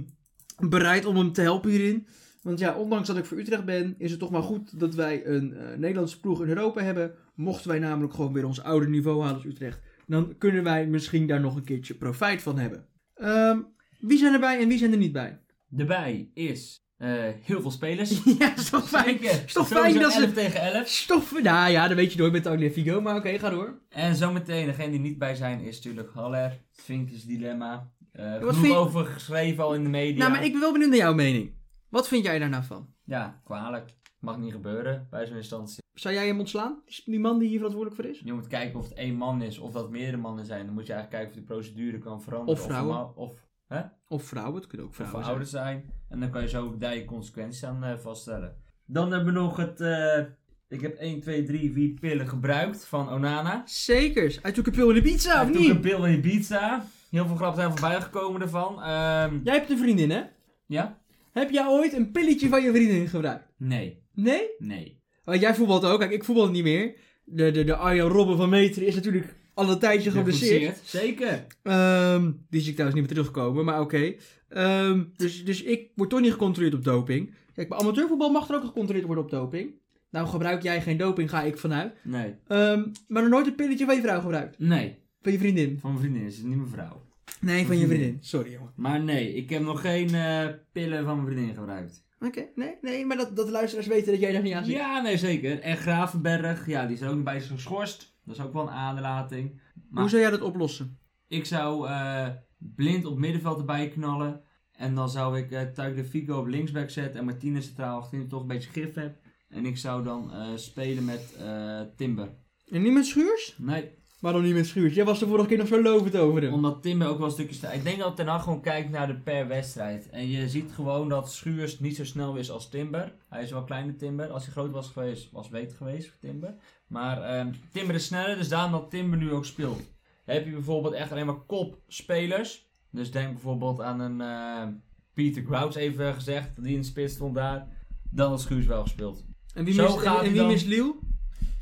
A: bereid om hem te helpen hierin. Want ja, ondanks dat ik voor Utrecht ben, is het toch maar goed dat wij een eh, Nederlandse ploeg in Europa hebben. Mochten wij namelijk gewoon weer ons oude niveau halen als Utrecht, dan kunnen wij misschien daar nog een keertje profijt van hebben. Ehm, wie zijn erbij en wie zijn er niet bij?
B: Daarbij is eh, heel veel spelers.
A: Ja, is toch fijn,
B: Zeker.
A: is toch fijn
B: Sowieso
A: dat ze
B: 11 tegen 11.
A: Stoffen. Nou ja, dat weet je nooit met Aglia Figo, maar oké, ga door.
B: En zometeen, degene die niet bij zijn, is natuurlijk Haller. Vinkers Dilemma. Eh
A: Wat
B: genoeg
A: vind je-
B: over geschreven al in de media.
A: Nou, maar ik ben wel benieuwd naar jouw mening. Wat vind jij daar nou van?
B: Ja, kwalijk. Mag niet gebeuren bij zo'n instantie.
A: Zou jij hem ontslaan? Die- Die man die hier verantwoordelijk voor is?
B: Je moet kijken of het één man is of dat meerdere mannen zijn. Dan moet je eigenlijk kijken of de procedure kan veranderen.
A: Of vrouwen.
B: Of, of, hè?
A: Of vrouwen, het kunnen ook
B: of
A: vrouwen zijn.
B: verouderd zijn. En dan kan je zo daar je consequenties aan eh, vaststellen. Dan hebben we nog het... eh, ik heb 1, 2, 3, 4 pillen gebruikt van Onana.
A: Zekers. Hij took a pill in pizza, of
B: Hij took
A: niet?
B: een pil in Ibiza. Heel veel grappen zijn voorbij gekomen ervan. Ehm,
A: Jij hebt een vriendin, hè?
B: ja?
A: Heb jij ooit een pilletje van je vriendin gebruikt?
B: Nee.
A: Nee?
B: Nee.
A: Want jij voetbalt ook. Kijk, ik voetbal niet meer. De, de, de Arjan Robben van Meteren is natuurlijk al een tijdje geblesseerd.
B: Zeker.
A: Ehm, die zie ik trouwens niet meer terugkomen, maar oké. Ehm, dus, dus ik word toch niet gecontroleerd op doping. Kijk, bij amateurvoetbal mag er ook gecontroleerd worden op doping. Nou, gebruik jij geen doping, ga ik vanuit.
B: Nee.
A: Ehm, maar nog nooit een pilletje van je vrouw gebruikt.
B: Nee.
A: Van je vriendin.
B: Van mijn vriendin is het niet mijn vrouw.
A: Nee, van je
B: vriendin.
A: vriendin. Sorry, jongen.
B: Maar nee, ik heb nog geen eh, pillen van mijn vriendin gebruikt.
A: Oké, nee, nee, maar dat, dat de luisteraars weten dat jij daar niet aan zit.
B: Ja, nee zeker. En Gravenberg, ja, die is er ook nog bij geschorst. Dat is ook wel een aderlating. maar-
A: Hoe zou jij dat oplossen?
B: Ik zou eh, blind op middenveld erbij knallen. En dan zou ik eh Tuig de Figo op linksback zetten en Martinez centraal achterin die toch een beetje gif heb. En ik zou dan eh, spelen met eh, Timber.
A: En niet met Schuurs?
B: Nee,
A: Waarom niet met Schuurs? Jij was de vorige keer nog zo lovend over hem.
B: omdat Timber ook wel stukjes... te- Ik denk dat Ten Hag gewoon kijkt naar de per wedstrijd. En je ziet gewoon dat Schuurs niet zo snel is als Timber. Hij is wel kleine Timber. Als hij groot was geweest, was beter geweest voor Timber. Maar ehm, Timber is sneller, dus daarom dat Timber nu ook speelt. Heb je bijvoorbeeld echt alleen maar kopspelers. Dus denk bijvoorbeeld aan een eh, Peter Crouch even gezegd, die in de spits stond daar. Dan had Schuurs wel gespeeld.
A: En wie
B: Zo
A: mist,
B: gaat
A: en, en
B: hij
A: wie
B: dan.
A: mist Liel?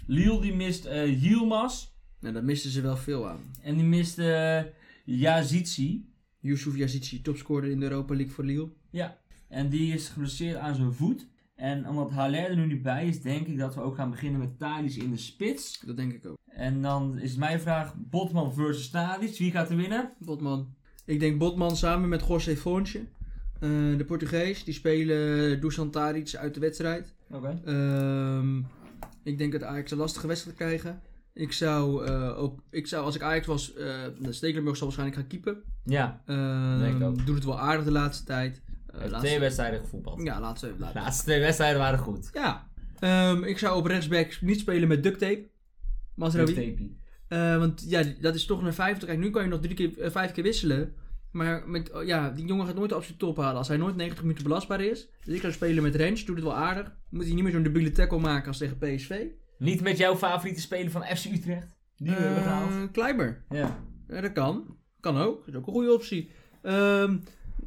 B: Liel die mist eh Yilmaz.
A: Nou, daar misten ze wel veel aan.
B: En die mist eh Yazidzi.
A: Yusuf Yazici, topscorer in de Europa League voor Liel.
B: Ja, en die is geblesseerd aan zijn voet. En omdat Haller er nu niet bij is, denk ik dat we ook gaan beginnen met Thalys in de spits.
A: Dat denk ik ook.
B: En dan is mijn vraag, Botman versus Thalys, wie gaat er winnen?
A: Botman. Ik denk Botman samen met José Fontje. eh, de Portugees. Die spelen Dusan Tadic uit de wedstrijd.
B: Oké.
A: Ehm, ik denk dat Ajax een lastige wedstrijd krijgen. Ik zou, eh, op, ik zou als ik Ajax was, eh Stekelenburg zal waarschijnlijk gaan keepen.
B: Ja,
A: Ehm,
B: Denk ik ook.
A: Doet het wel aardig de laatste tijd. Eh,
B: heeft
A: laatste-
B: twee wedstrijden gevoetbald.
A: Ja, laatste.
B: De
A: laatste.
B: laatste twee wedstrijden waren goed.
A: Ja. Ehm, ik zou op rechtsback niet spelen met duct tape. Masraoui.
B: Tapie.
A: Eh, want ja, dat is toch naar 50. Kijk, nu kan je nog drie keer, eh, vijf keer wisselen. Maar met, oh, ja, die jongen gaat nooit de absolute top halen als hij nooit 90 minuten belastbaar is. Dus ik zou spelen met Rens, doet het wel aardig. Moet hij niet meer zo'n debiele tackle maken als tegen PSV.
B: Niet met jouw favoriete speler van FC Utrecht. Die we hebben gehaald.
A: Eh, Kleiber.
B: Ja.
A: Ja, dat kan. Kan ook. Dat is ook een goede optie. Ehm,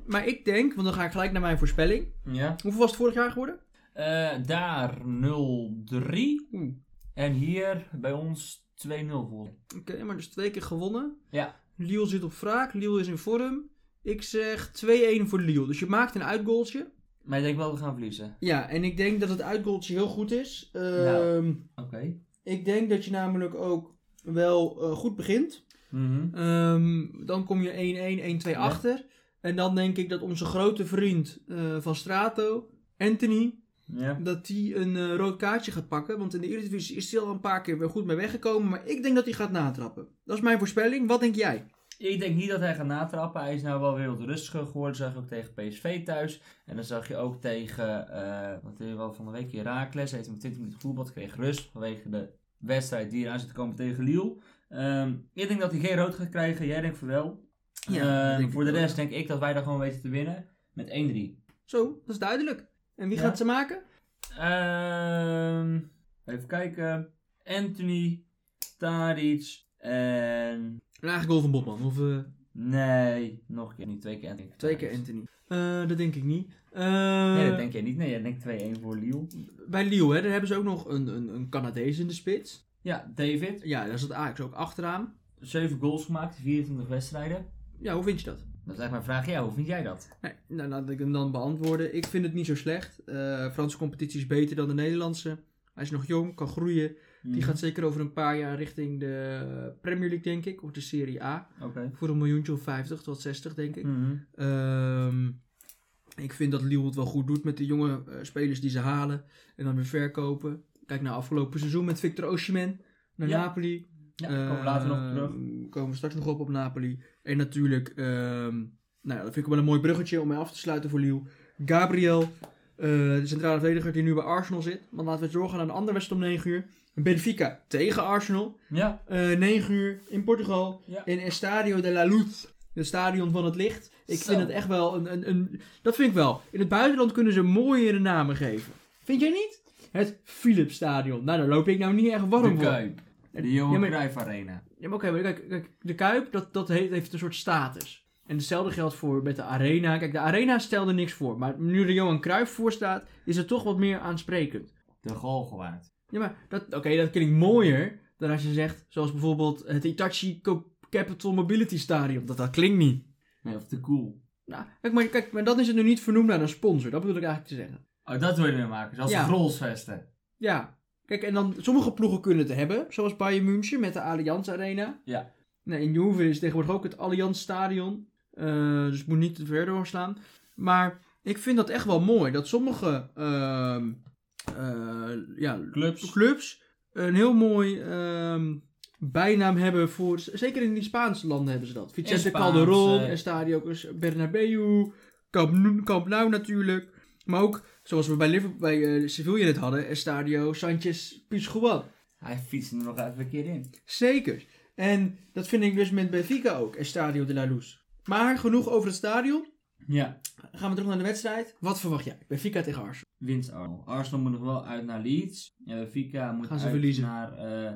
A: maar ik denk, want dan ga ik gelijk naar mijn voorspelling.
B: ja.
A: Hoeveel was het vorig jaar geworden?
B: Eh, daar 0-3.
A: Oeh.
B: En hier bij ons 2-0 voor.
A: Oké, maar dus twee keer gewonnen.
B: Ja.
A: Liel zit op wraak, Liel is in vorm. Ik zeg 2-1 voor Liel. Dus je maakt een uitgoaltje.
B: Maar ik denk wel dat we gaan verliezen.
A: Ja, en ik denk dat het uitgoaltje heel goed is. Ehm,
B: Nou. Oké.
A: Ik denk dat je namelijk ook wel eh, goed begint.
B: Mhm.
A: Ehm, dan kom je 1-1, 1-2
B: Ja.
A: achter. En dan denk ik dat onze grote vriend eh, van Strato, Anthony,
B: Ja.
A: dat hij een eh, rood kaartje gaat pakken. Want in de Eredivisie is hij al een paar keer weer goed mee weggekomen. Maar ik denk dat hij gaat natrappen. Dat is mijn voorspelling. Wat denk jij?
B: Ik denk niet dat hij gaat natrappen. Hij is nou wel weer wat rustiger geworden. Dat zag je ook tegen PSV thuis. En dan zag je ook tegen, eh wat deed hij wel van de week, Herakles. Hij heeft hem 20 minuten voetbal, kreeg rust vanwege de wedstrijd die eraan zit te komen tegen Lille. Ehm, ik denk dat hij geen rood gaat krijgen. Jij denkt van wel.
A: dat
B: Ehm,
A: denk ik
B: voor de
A: ook.
B: rest denk ik dat wij daar gewoon weten te winnen met 1-3.
A: Zo, dat is duidelijk. En wie
B: Ja.
A: gaat ze maken?
B: Ehm, even kijken. Anthony, Tadic en...
A: Een eigen goal van Bobman. Of eh,
B: Nee, nog een keer niet. Twee keer Anthony.
A: twee keer Anthony. Eh, dat denk ik niet. Eh,
B: Nee, dat denk jij niet. Nee, jij denkt 2-1 voor Lille.
A: Bij Lille, hè, daar hebben ze ook nog een, een, een Canadees in de spits.
B: Ja, David.
A: Ja, daar zat Ajax ook achteraan.
B: 7 goals gemaakt, 24 wedstrijden.
A: Ja, hoe vind je dat?
B: Dat is eigenlijk mijn vraag. Ja, hoe vind jij dat?
A: Nee, nou, laat ik hem dan beantwoorden. Ik vind het niet zo slecht. Eh Franse competitie is beter dan de Nederlandse. Hij is nog jong, kan groeien.
B: Hmm,
A: Die gaat zeker over een paar jaar richting de Premier League, denk ik. Of de Serie A.
B: Oké.
A: Voor een miljoentje of 50 tot 60, denk ik.
B: Mhm.
A: Ehm, ik vind dat Lille het wel goed doet met de jonge eh, spelers die ze halen. En dan weer verkopen. Kijk naar afgelopen seizoen met Victor Osimhen naar
B: Ja.
A: Napoli.
B: Ja, daar komen we later nog op terug.
A: Ehm, Komen we straks nog op op Napoli. En natuurlijk, ehm, nou ja, dat vind ik wel een mooi bruggetje om mee af te sluiten voor Lille. Gabriel, eh, de centrale verdediger die nu bij Arsenal zit. Want laten we het doorgaan aan een andere wedstrijd om 9 uur. Benfica tegen Arsenal.
B: Ja,
A: Eh 9 uur in Portugal.
B: Ja.
A: In Estadio de la Luz. Het stadion van het licht. Ik
B: Zo.
A: vind het echt wel een, een, een... Dat vind ik wel. In het buitenland kunnen ze mooiere namen geven. Vind jij niet? Het Philips Stadion. Nou, daar loop ik nou niet echt warm
B: de
A: voor.
B: Kuip. De Johan
A: Ja, maar-
B: Cruijff Arena.
A: Ja, maar oké, maar kijk, kijk, de Kuip, dat, dat heeft, heeft een soort status. En hetzelfde geldt voor met de Arena. Kijk, de Arena stelde niks voor. Maar nu er Johan Cruijff voor staat, is het toch wat meer aansprekend.
B: De Galgenwaard.
A: Ja, maar dat, oké, dat klinkt mooier dan als je zegt, zoals bijvoorbeeld het Hitachi Co- Capital Mobility Stadion. Dat, dat klinkt niet.
B: Nee, of de Cool.
A: Nou, kijk, maar, kijk, maar dan is het nu niet vernoemd naar een sponsor. Dat bedoel ik eigenlijk te zeggen.
B: Oh, dat wil je weer maken. Zoals
A: Ja.
B: de Grolsvesten.
A: Ja. Kijk, en dan sommige ploegen kunnen het hebben. Zoals Bayern München met de Allianz Arena.
B: Ja.
A: Nou, in Juve is tegenwoordig ook het Allianz Stadion. Eh, dus het moet niet te ver doorslaan. Maar ik vind dat echt wel mooi. Dat sommige ehm, eh, ja,
B: Clubs.
A: clubs een heel mooi ehm, bijnaam hebben voor... Zeker in die Spaanse landen hebben ze dat. Vicente
B: Spaans,
A: Calderon,
B: eh.
A: Estadio Bernabeu, Camp Nou, Camp Nou natuurlijk. Maar ook, zoals we bij, Liverpool, bij eh, Sevilla het hadden, Estadio Sanchez Pizjuan.
B: Hij fietst er nog even een keer in.
A: Zeker. En dat vind ik dus met Benfica ook, Estadio de la Luz. Maar genoeg over het stadion.
B: Ja.
A: Gaan we terug naar de wedstrijd. Wat verwacht jij? Benfica tegen Arsenal.
B: Winst Arsenal. Arsenal moet nog wel uit naar Leeds. Eh Vika moet
A: Gaan ze
B: uit
A: verliezen?
B: naar eh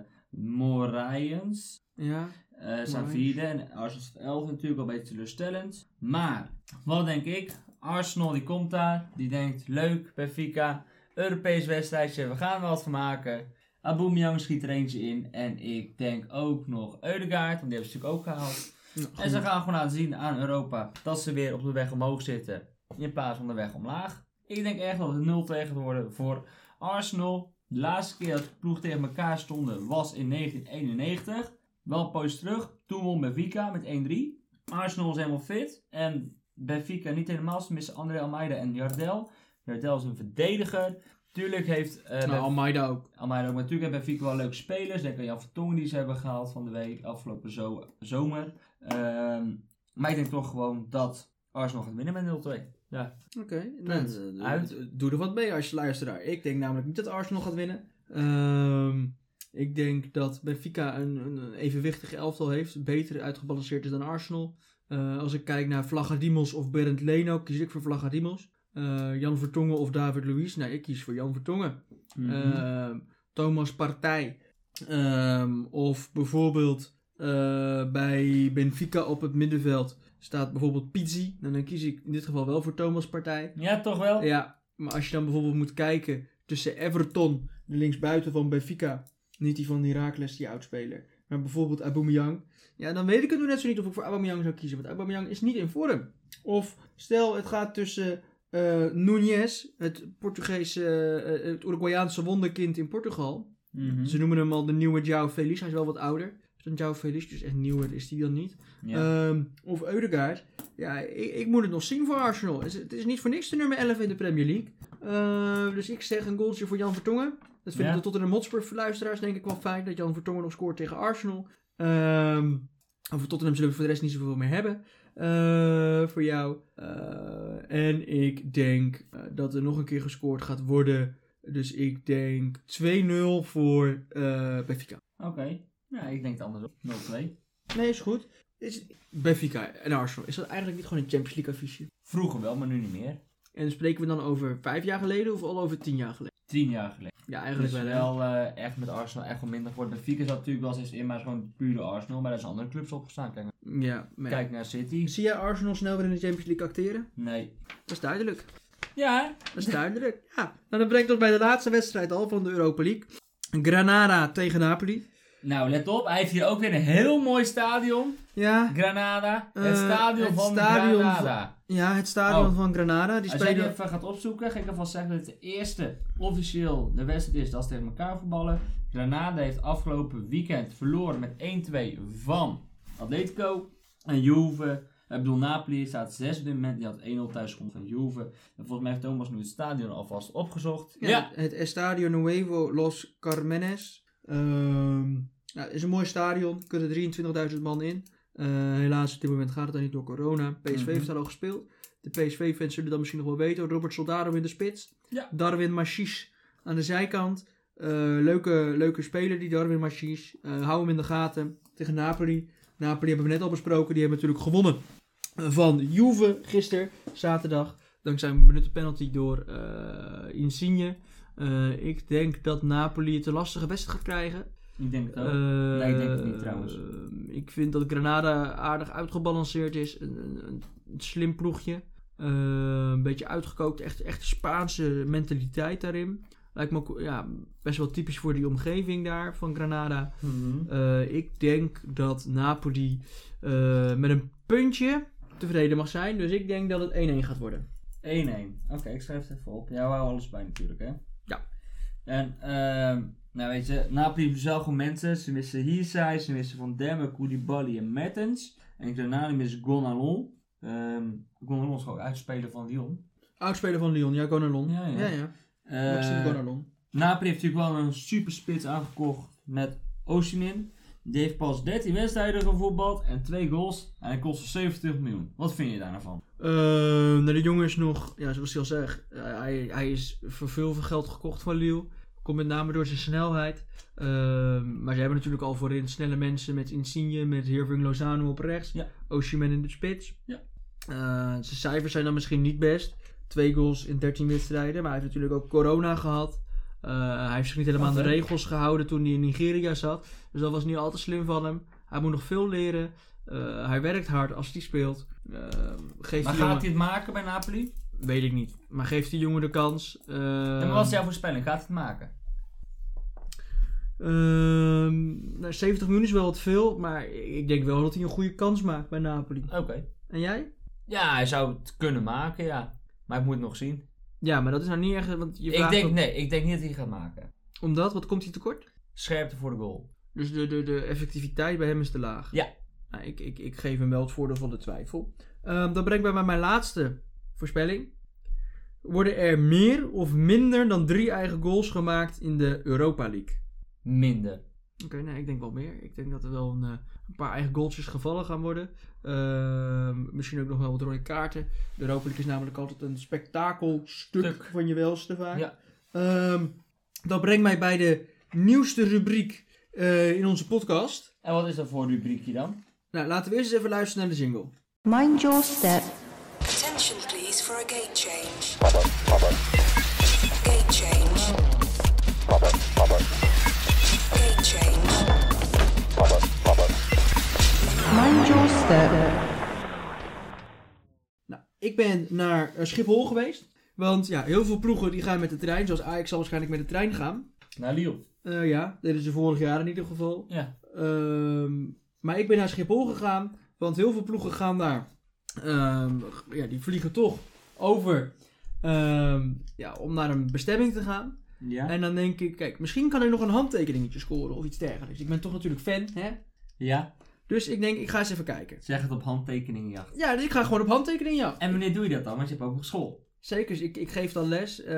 B: Moraijens.
A: Ja.
B: eh staan
A: Nice.
B: vierde en Arsenal staat elfde natuurlijk al een beetje teleurstellend. Maar, wat denk ik? Arsenal die komt daar, die denkt leuk, Benfica, Europees wedstrijdje, we gaan er wat van maken. Aubameyang schiet er eentje in en ik denk ook nog Eudegaard, want die hebben ze natuurlijk ook gehaald. en ze gaan gewoon laten zien aan Europa dat ze weer op de weg omhoog zitten in plaats van de weg omlaag. Ik denk echt dat het 0 tegen gaat worden voor Arsenal. De laatste keer dat de ploeg tegen elkaar stonden was in 1991. Wel een poos terug. Toen won Benfica met 1-3. Arsenal was helemaal fit. En Benfica niet helemaal. Ze missen André Almeida en Jardel. Jardel is een verdediger. Tuurlijk heeft eh
A: Nou,
B: Benf-
A: Almeida ook.
B: Almeida ook. Maar natuurlijk heeft Benfica wel leuke spelers. Denk aan Jan Vertongen die ze hebben gehaald van de week. Afgelopen zo- zomer. Ehm, maar ik denk toch gewoon dat Arsenal gaat winnen met 0-2. Ja.
A: Oké.
B: Punt.
A: Nou, eh,
B: Uit.
A: eh, Doe er wat mee als je luisteraar. Ik denk namelijk niet dat Arsenal gaat winnen. Ehm, ik denk dat Benfica een, een een evenwichtig elftal heeft. Beter uitgebalanceerd is dan Arsenal. Eh, als ik kijk naar Vlagadimos of Berend Leno, kies ik voor Vlagadimos. Eh, Jan Vertongen of David Luiz. Nou, ik kies voor Jan Vertongen.
B: Eh,
A: Ehm, Thomas Partij. Ehm, of bijvoorbeeld eh, bij Benfica op het middenveld staat bijvoorbeeld Pizzi. Nou, dan kies ik in dit geval wel voor Thomas Partij.
B: ja, toch wel?
A: Ja, maar als je dan bijvoorbeeld moet kijken tussen Everton, de linksbuiten van Benfica, niet die van Heracles, die oudspeler, maar bijvoorbeeld Aubameyang. Ja, dan weet ik het nog net zo niet of ik voor Aubameyang zou kiezen, want Aubameyang is niet in vorm. Of stel het gaat tussen eh Nunez, het Portugese, eh, het Uruguayaanse wonderkind in Portugal.
B: Mhm.
A: Ze noemen hem al de nieuwe João Feliz, hij is wel wat ouder. Santiago Felix, dus echt nieuw is die dan niet.
B: Ja.
A: Ehm, of Eudegaard. Ja, ik, ik moet het nog zien voor Arsenal. Het is, het is niet voor niks de nummer 11 in de Premier League. Ehm, dus ik zeg een goaltje voor Jan Vertongen. Dat vind
B: Ja.
A: ik dat tot in de Hotspur-luisteraars denk ik wel fijn. Dat Jan Vertongen nog scoort tegen Arsenal. Ehm over Tottenham zullen we voor de rest niet zoveel meer hebben. eh, voor jou. Eh, en ik denk eh, dat er nog een keer gescoord gaat worden. Dus ik denk 2-0 voor eh Benfica.
B: Oké. Ja, ik denk het andersom. 0-2.
A: Nee, is goed. Is Benfica en Arsenal, is dat eigenlijk niet gewoon een Champions League affiche?
B: Vroeger wel, maar nu niet meer.
A: En spreken we dan over vijf jaar geleden of al over tien jaar geleden?
B: Tien jaar geleden.
A: Ja,
B: Dus
A: eigenlijk wel. hè.
B: wel eh, echt met Arsenal echt wel minder geworden. Benfica zat natuurlijk wel eens in, maar is gewoon pure Arsenal. Maar daar zijn andere clubs opgestaan. Kijk,
A: Ja, maar ja.
B: kijk naar City.
A: Zie jij Arsenal snel weer in de Champions League acteren?
B: Nee.
A: Dat is duidelijk.
B: Ja, hè?
A: Dat is duidelijk. Ja. Nou, dan brengt ons bij de laatste wedstrijd al van de Europa League. Granada tegen Napoli.
B: Nou, let op. Hij heeft hier ook weer een heel mooi stadion.
A: Ja,
B: Granada. het
A: Eh,
B: stadion
A: het
B: van
A: stadion
B: Granada.
A: ja het stadion
B: Oh.
A: van Granada. Die
B: Als jij die
A: spelen...
B: even gaat opzoeken, ga ik alvast zeggen dat het de eerste officieel de wedstrijd is dat ze tegen elkaar voetballen. Granada heeft afgelopen weekend verloren met 1-2 van Atletico. En Juve, Eh, ik bedoel Napoli, staat zes op dit moment. Die had 1-0 thuis gewonnen van Juve. En volgens mij heeft Thomas nu het stadion alvast opgezocht. Ja,
A: Het Estadio Nuevo Los Carmenes. Ehm, nou, het is een mooi stadion. Er kunnen 23.000 man in. Eh, helaas, op dit moment gaat het daar niet door corona. PSV
B: Mhm.
A: heeft daar al gespeeld. De PSV-fans zullen dat misschien nog wel weten. Robert Soldado in de spits.
B: Ja.
A: Darwin Machis aan de zijkant. Eh, leuke, leuke speler, die Darwin Machis. Eh, hou hem in de gaten tegen Napoli. Napoli hebben we net al besproken. Die hebben natuurlijk gewonnen van Juve gisteren, zaterdag. Dankzij een benutte penalty door eh, Insigne. Eh, ik denk dat Napoli het een lastige wedstrijd gaat krijgen.
B: ik denk het ook.
A: Eh,
B: Oh, Nee, ik denk het niet, trouwens.
A: eh, ik vind dat Granada aardig uitgebalanceerd is. Een, een, een- een slim ploegje. Eh, een beetje uitgekookt. Echt, echt Spaanse mentaliteit daarin. Lijkt me ook ja, best wel typisch voor die omgeving daar van Granada. Eh, ik denk dat Napoli eh, met een puntje tevreden mag zijn. Dus ik denk dat het 1-1 gaat worden.
B: 1-1. Oké, ik schrijf het even op. Ja, we houden alles bij natuurlijk, hè?
A: Ja.
B: En, ehm, nou weet je, Napoli heeft zelf gewoon mensen. Ze missen Heersay, ze missen Van Demme, Koulibaly en Mertens. En Granada mist Gonalon. Ehm Gonalon is gewoon uitspelen van Lyon.
A: Oudspeler van Lyon, ja, Gonalon.
B: Ja, ja.
A: Nog steeds
B: Eh
A: Gonalon.
B: Napoli heeft natuurlijk wel een superspits aangekocht met Osimhen. Die heeft pas 13 wedstrijden gevoetbald en 2 goals. En hij kostte 70 miljoen. Wat vind je daar nou van?
A: Eh, nou, de jongen is nog, ja, zoals hij al zegt, eh, hij, hij is voor veel geld gekocht van Lille. Komt met name door zijn snelheid. Ehm, maar ze hebben natuurlijk al voorin snelle mensen met Insigne, met Hirving Lozano op rechts.
B: Ja.
A: Osimhen in de spits.
B: Ja.
A: Eh, zijn cijfers zijn dan misschien niet best. Twee goals in 13 wedstrijden. Maar hij heeft natuurlijk ook corona gehad. Eh, hij heeft zich niet helemaal aan de
B: Wat, hè?
A: regels gehouden toen hij in Nigeria zat. Dus dat was niet al te slim van hem. Hij moet nog veel leren. Eh, hij werkt hard als hij speelt. Ehm, geeft
B: Maar
A: die jongen...
B: gaat hij het maken bij Napoli?
A: Weet ik niet. Maar geeft die jongen de kans.
B: En
A: Ehm,
B: wat is jouw voorspelling? Gaat het maken?
A: ehm, nou, 70 miljoen is wel wat veel. Maar ik denk wel dat hij een goede kans maakt bij Napoli.
B: Oké.
A: En jij?
B: Ja, hij zou het kunnen maken, ja. Maar ik moet het nog zien.
A: Ja, maar dat is nou niet echt... Want je
B: Ik
A: vraagt
B: denk,
A: ook-
B: nee, ik denk niet dat hij het gaat maken.
A: Omdat? Wat komt hij tekort?
B: Scherpte voor de goal.
A: Dus de, de, de effectiviteit bij hem is te laag.
B: Ja.
A: Nou, ik, ik, ik geef hem wel het voordeel van de twijfel. Ehm, dat brengt mij bij mijn laatste voorspelling. Worden er meer of minder dan drie eigen goals gemaakt in de Europa League?
B: Minder.
A: Oké, nee, ik denk wel meer. Ik denk dat er wel een, eh, een paar eigen goaltjes gevallen gaan worden. Ehm, misschien ook nog wel wat rode kaarten. De Europa League is namelijk altijd een spektakelstuk
B: Stuk.
A: van je welste vaak.
B: Ja.
A: Ehm, dat brengt mij bij de nieuwste rubriek eh, in onze podcast.
B: En wat is dat voor rubriekje dan?
A: Nou, laten we eerst eens even luisteren naar de jingle.
E: Mind your step.
F: Attention please for a gate change. Gate change. Gate change.
E: Mind your step.
A: Nou, ik ben naar eh, Schiphol geweest. Want ja, heel veel ploegen die gaan met de trein. Zoals Ajax zal waarschijnlijk met de trein gaan.
B: Naar Lille.
A: Eh, ja, dat deden ze vorig jaar in ieder geval.
B: Ja.
A: Ehm, maar ik ben naar Schiphol gegaan, want heel veel ploegen gaan daar. Ehm, ja, die vliegen toch over ehm, ja, om naar een bestemming te gaan.
B: Ja.
A: En dan denk ik, kijk, misschien kan ik nog een handtekeningetje scoren of iets dergelijks. Ik ben toch natuurlijk fan, hè?
B: Ja,
A: Dus ik denk, ik ga eens even kijken.
B: zeg het op handtekeningenjacht.
A: Ja, dus ik ga gewoon op handtekening ja.
B: En wanneer doe je dat dan? Want je hebt ook nog school.
A: Zeker, dus ik, ik geef dan les. eh,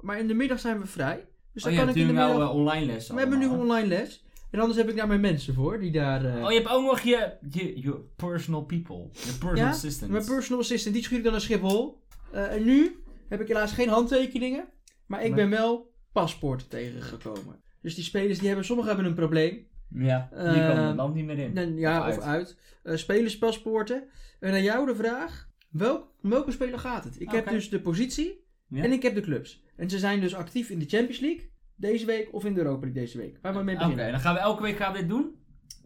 A: maar in de middag zijn we vrij. Dus
B: oh,
A: dan
B: je
A: kan
B: hebt
A: ik in de
B: natuurlijk
A: middag...
B: nou eh, online lessen.
A: we hebben nu
B: allemaal, hè?
A: online les. En anders heb ik daar mijn mensen voor, die daar... eh,
B: Oh, je hebt ook nog je, je, je personal people. Je personal
A: ja,
B: assistants.
A: Mijn personal assistant, die schuur ik dan naar Schiphol. Eh, en nu heb ik helaas geen handtekeningen. Maar ik
B: Maar-
A: ben wel paspoorten tegengekomen. Dus die spelers, die hebben, sommigen hebben een probleem.
B: Ja, die
A: Eh,
B: komen het land niet meer in.
A: Dan- ja,
B: Of
A: of uit. Eh, spelerspaspoorten. En aan jou de vraag, welk, om welke speler gaat het? Ik heb
B: Oké.
A: dus de positie
B: Ja.
A: en ik heb de clubs. En ze zijn dus actief in de Champions League deze week of in de Europa League deze week. Waar we mee
B: Oké,
A: beginnen.
B: dan gaan we elke week gaan we dit doen.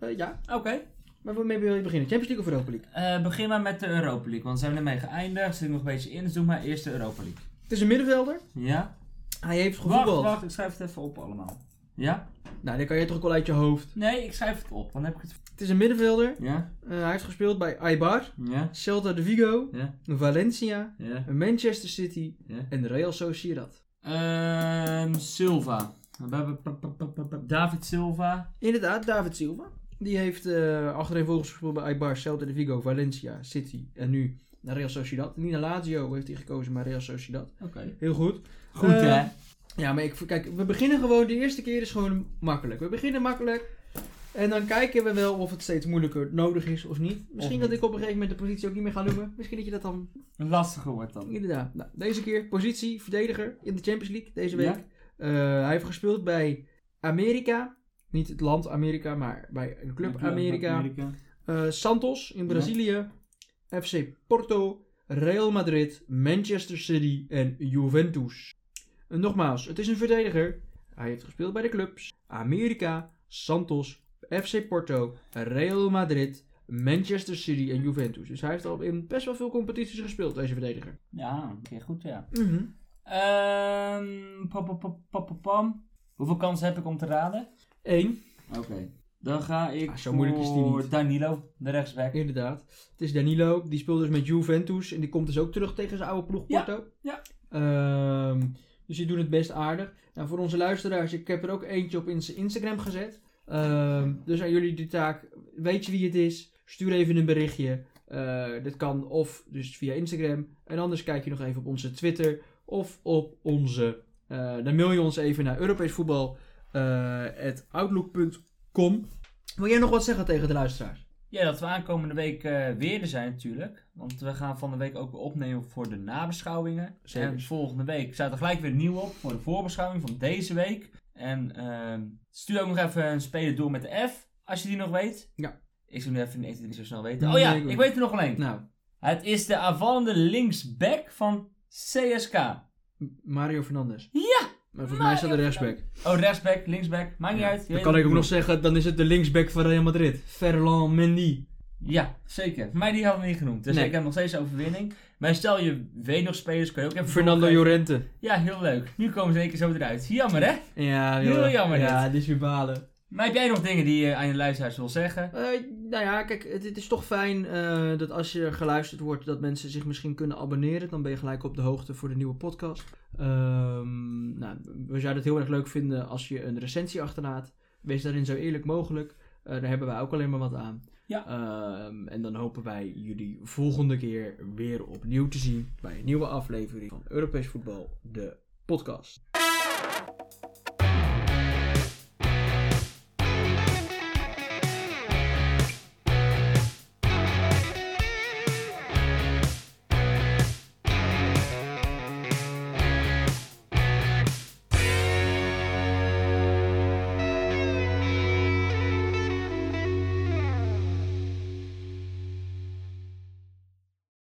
A: Eh, ja,
B: Oké.
A: waar we mee wil je beginnen? Champions League of Europa League?
B: Eh, begin maar met de Europa League, want zijn we ermee geëindigd. Zit ik nog een beetje in, dus doe maar eerst de Europa League.
A: Het is een middenvelder.
B: Ja?
A: Hij heeft
B: Wacht,
A: gevoetbald.
B: wacht, ik schrijf het even op allemaal. Ja?
A: Nou, dan kan je toch ook wel uit je hoofd.
B: Nee, ik schrijf het op, dan heb ik het...
A: Het is een middenvelder.
B: Ja?
A: Eh, hij heeft gespeeld bij Aibar,
B: Ja?
A: Celta de Vigo,
B: Ja?
A: Valencia,
B: Ja?
A: Manchester City
B: Ja?
A: en Real Sociedad.
B: Ehm, Silva. We hebben pa- pa- pa- pa- pa- David Silva.
A: Inderdaad, David Silva. Die heeft eh achterin volgens gespeeld bij Aibar, Celta de Vigo, Valencia, City en nu naar Real Sociedad. Niet naar Lazio heeft hij gekozen, maar Real Sociedad.
B: Oké.
A: Heel goed.
B: Goed
A: Eh,
B: hè?
A: Ja, maar ik, kijk, we beginnen gewoon, de eerste keer is gewoon makkelijk. We beginnen makkelijk en dan kijken we wel of het steeds moeilijker nodig is of niet. Misschien
B: niet.
A: dat ik op een gegeven moment de positie ook niet meer ga noemen. Misschien dat je dat dan
B: Lastiger wordt dan.
A: Inderdaad. Nou, deze keer positie verdediger in de Champions League deze week.
B: Ja.
A: Eh, hij heeft gespeeld bij Amerika. Niet het land Amerika, maar bij een club Amerika. Eh, Santos in Brazilië. FC Porto. Real Madrid. Manchester City en Juventus. En nogmaals, het is een verdediger. Hij heeft gespeeld bij de clubs Amerika, Santos, FC Porto, Real Madrid, Manchester City en Juventus. Dus hij heeft al in best wel veel competities gespeeld, deze verdediger.
B: Ja, oké, goed ja. Ehm, pam, pam, pam, pam, pam, pam. Hoeveel kansen heb ik om te raden?
A: Eén,
B: Oké. Dan ga ik
A: Ah, zo moeilijk is die
B: voor
A: niet.
B: Danilo, de rechtsback.
A: inderdaad. Het is Danilo, die speelt dus met Juventus en die komt dus ook terug tegen zijn oude ploeg
B: Ja,
A: Porto.
B: ja.
A: Ehm, dus die doen het best aardig. Nou, voor onze luisteraars, ik heb er ook eentje op in zijn Instagram gezet. Ehm, dus aan jullie de taak, weet je wie het is? Stuur even een berichtje. Eh, dat kan of dus via Instagram. En anders kijk je nog even op onze Twitter of op onze... eh, dan mail je ons even naar Europees Voetbal eh, outlook.com. Wil jij nog wat zeggen tegen de luisteraars?
B: Ja, dat we aankomende week eh, weer er zijn natuurlijk. Want we gaan van de week ook weer opnemen voor de nabeschouwingen.
A: Zeker.
B: En volgende week staat er gelijk weer nieuw op voor de voorbeschouwing van deze week. En ehm, stuur ook nog even een speler door met de F, als je die nog weet.
A: Ja.
B: Ik zou nu even niet, niet zo snel weten. Oh
A: Nee,
B: ja,
A: ik ook
B: ik
A: niet.
B: weet er nog wel één.
A: Nou,
B: Het is de aanvallende linksback van CSK.
A: M- Mario Fernandes.
B: Ja!
A: Maar volgens mij
B: Mario
A: staat de rechtsback.
B: Oh, rechtsback, linksback, maakt niet uit. Je
A: Dan
B: weet
A: kan
B: het
A: ik ook nog
B: niet.
A: zeggen, dan is het de linksback van Real Madrid. Ferland Mendy.
B: Ja, zeker. Maar die hadden we niet genoemd. Dus
A: Nee.
B: ik heb nog steeds overwinning. Maar stel je weet nog spelers, kun je ook even...
A: Fernando
B: doorgeven.
A: Llorente.
B: Ja, heel leuk. Nu komen ze één keer zo eruit. Jammer, hè?
A: Ja,
B: Heel jammer
A: Ja,
B: dit.
A: dit is weer balen.
B: Maar heb jij nog dingen die je aan je luisteraars wil zeggen?
A: Eh, nou ja, kijk, het, het is toch fijn eh, dat als je geluisterd wordt, dat mensen zich misschien kunnen abonneren. Dan ben je gelijk op de hoogte voor de nieuwe podcast. Ehm, nou, we zouden het heel erg leuk vinden als je een recensie achterlaat. Wees daarin zo eerlijk mogelijk. Eh, daar hebben wij ook alleen maar wat aan.
B: Ja.
A: Ehm, en dan hopen wij jullie volgende keer weer opnieuw te zien bij een nieuwe aflevering van Europees Voetbal, de podcast.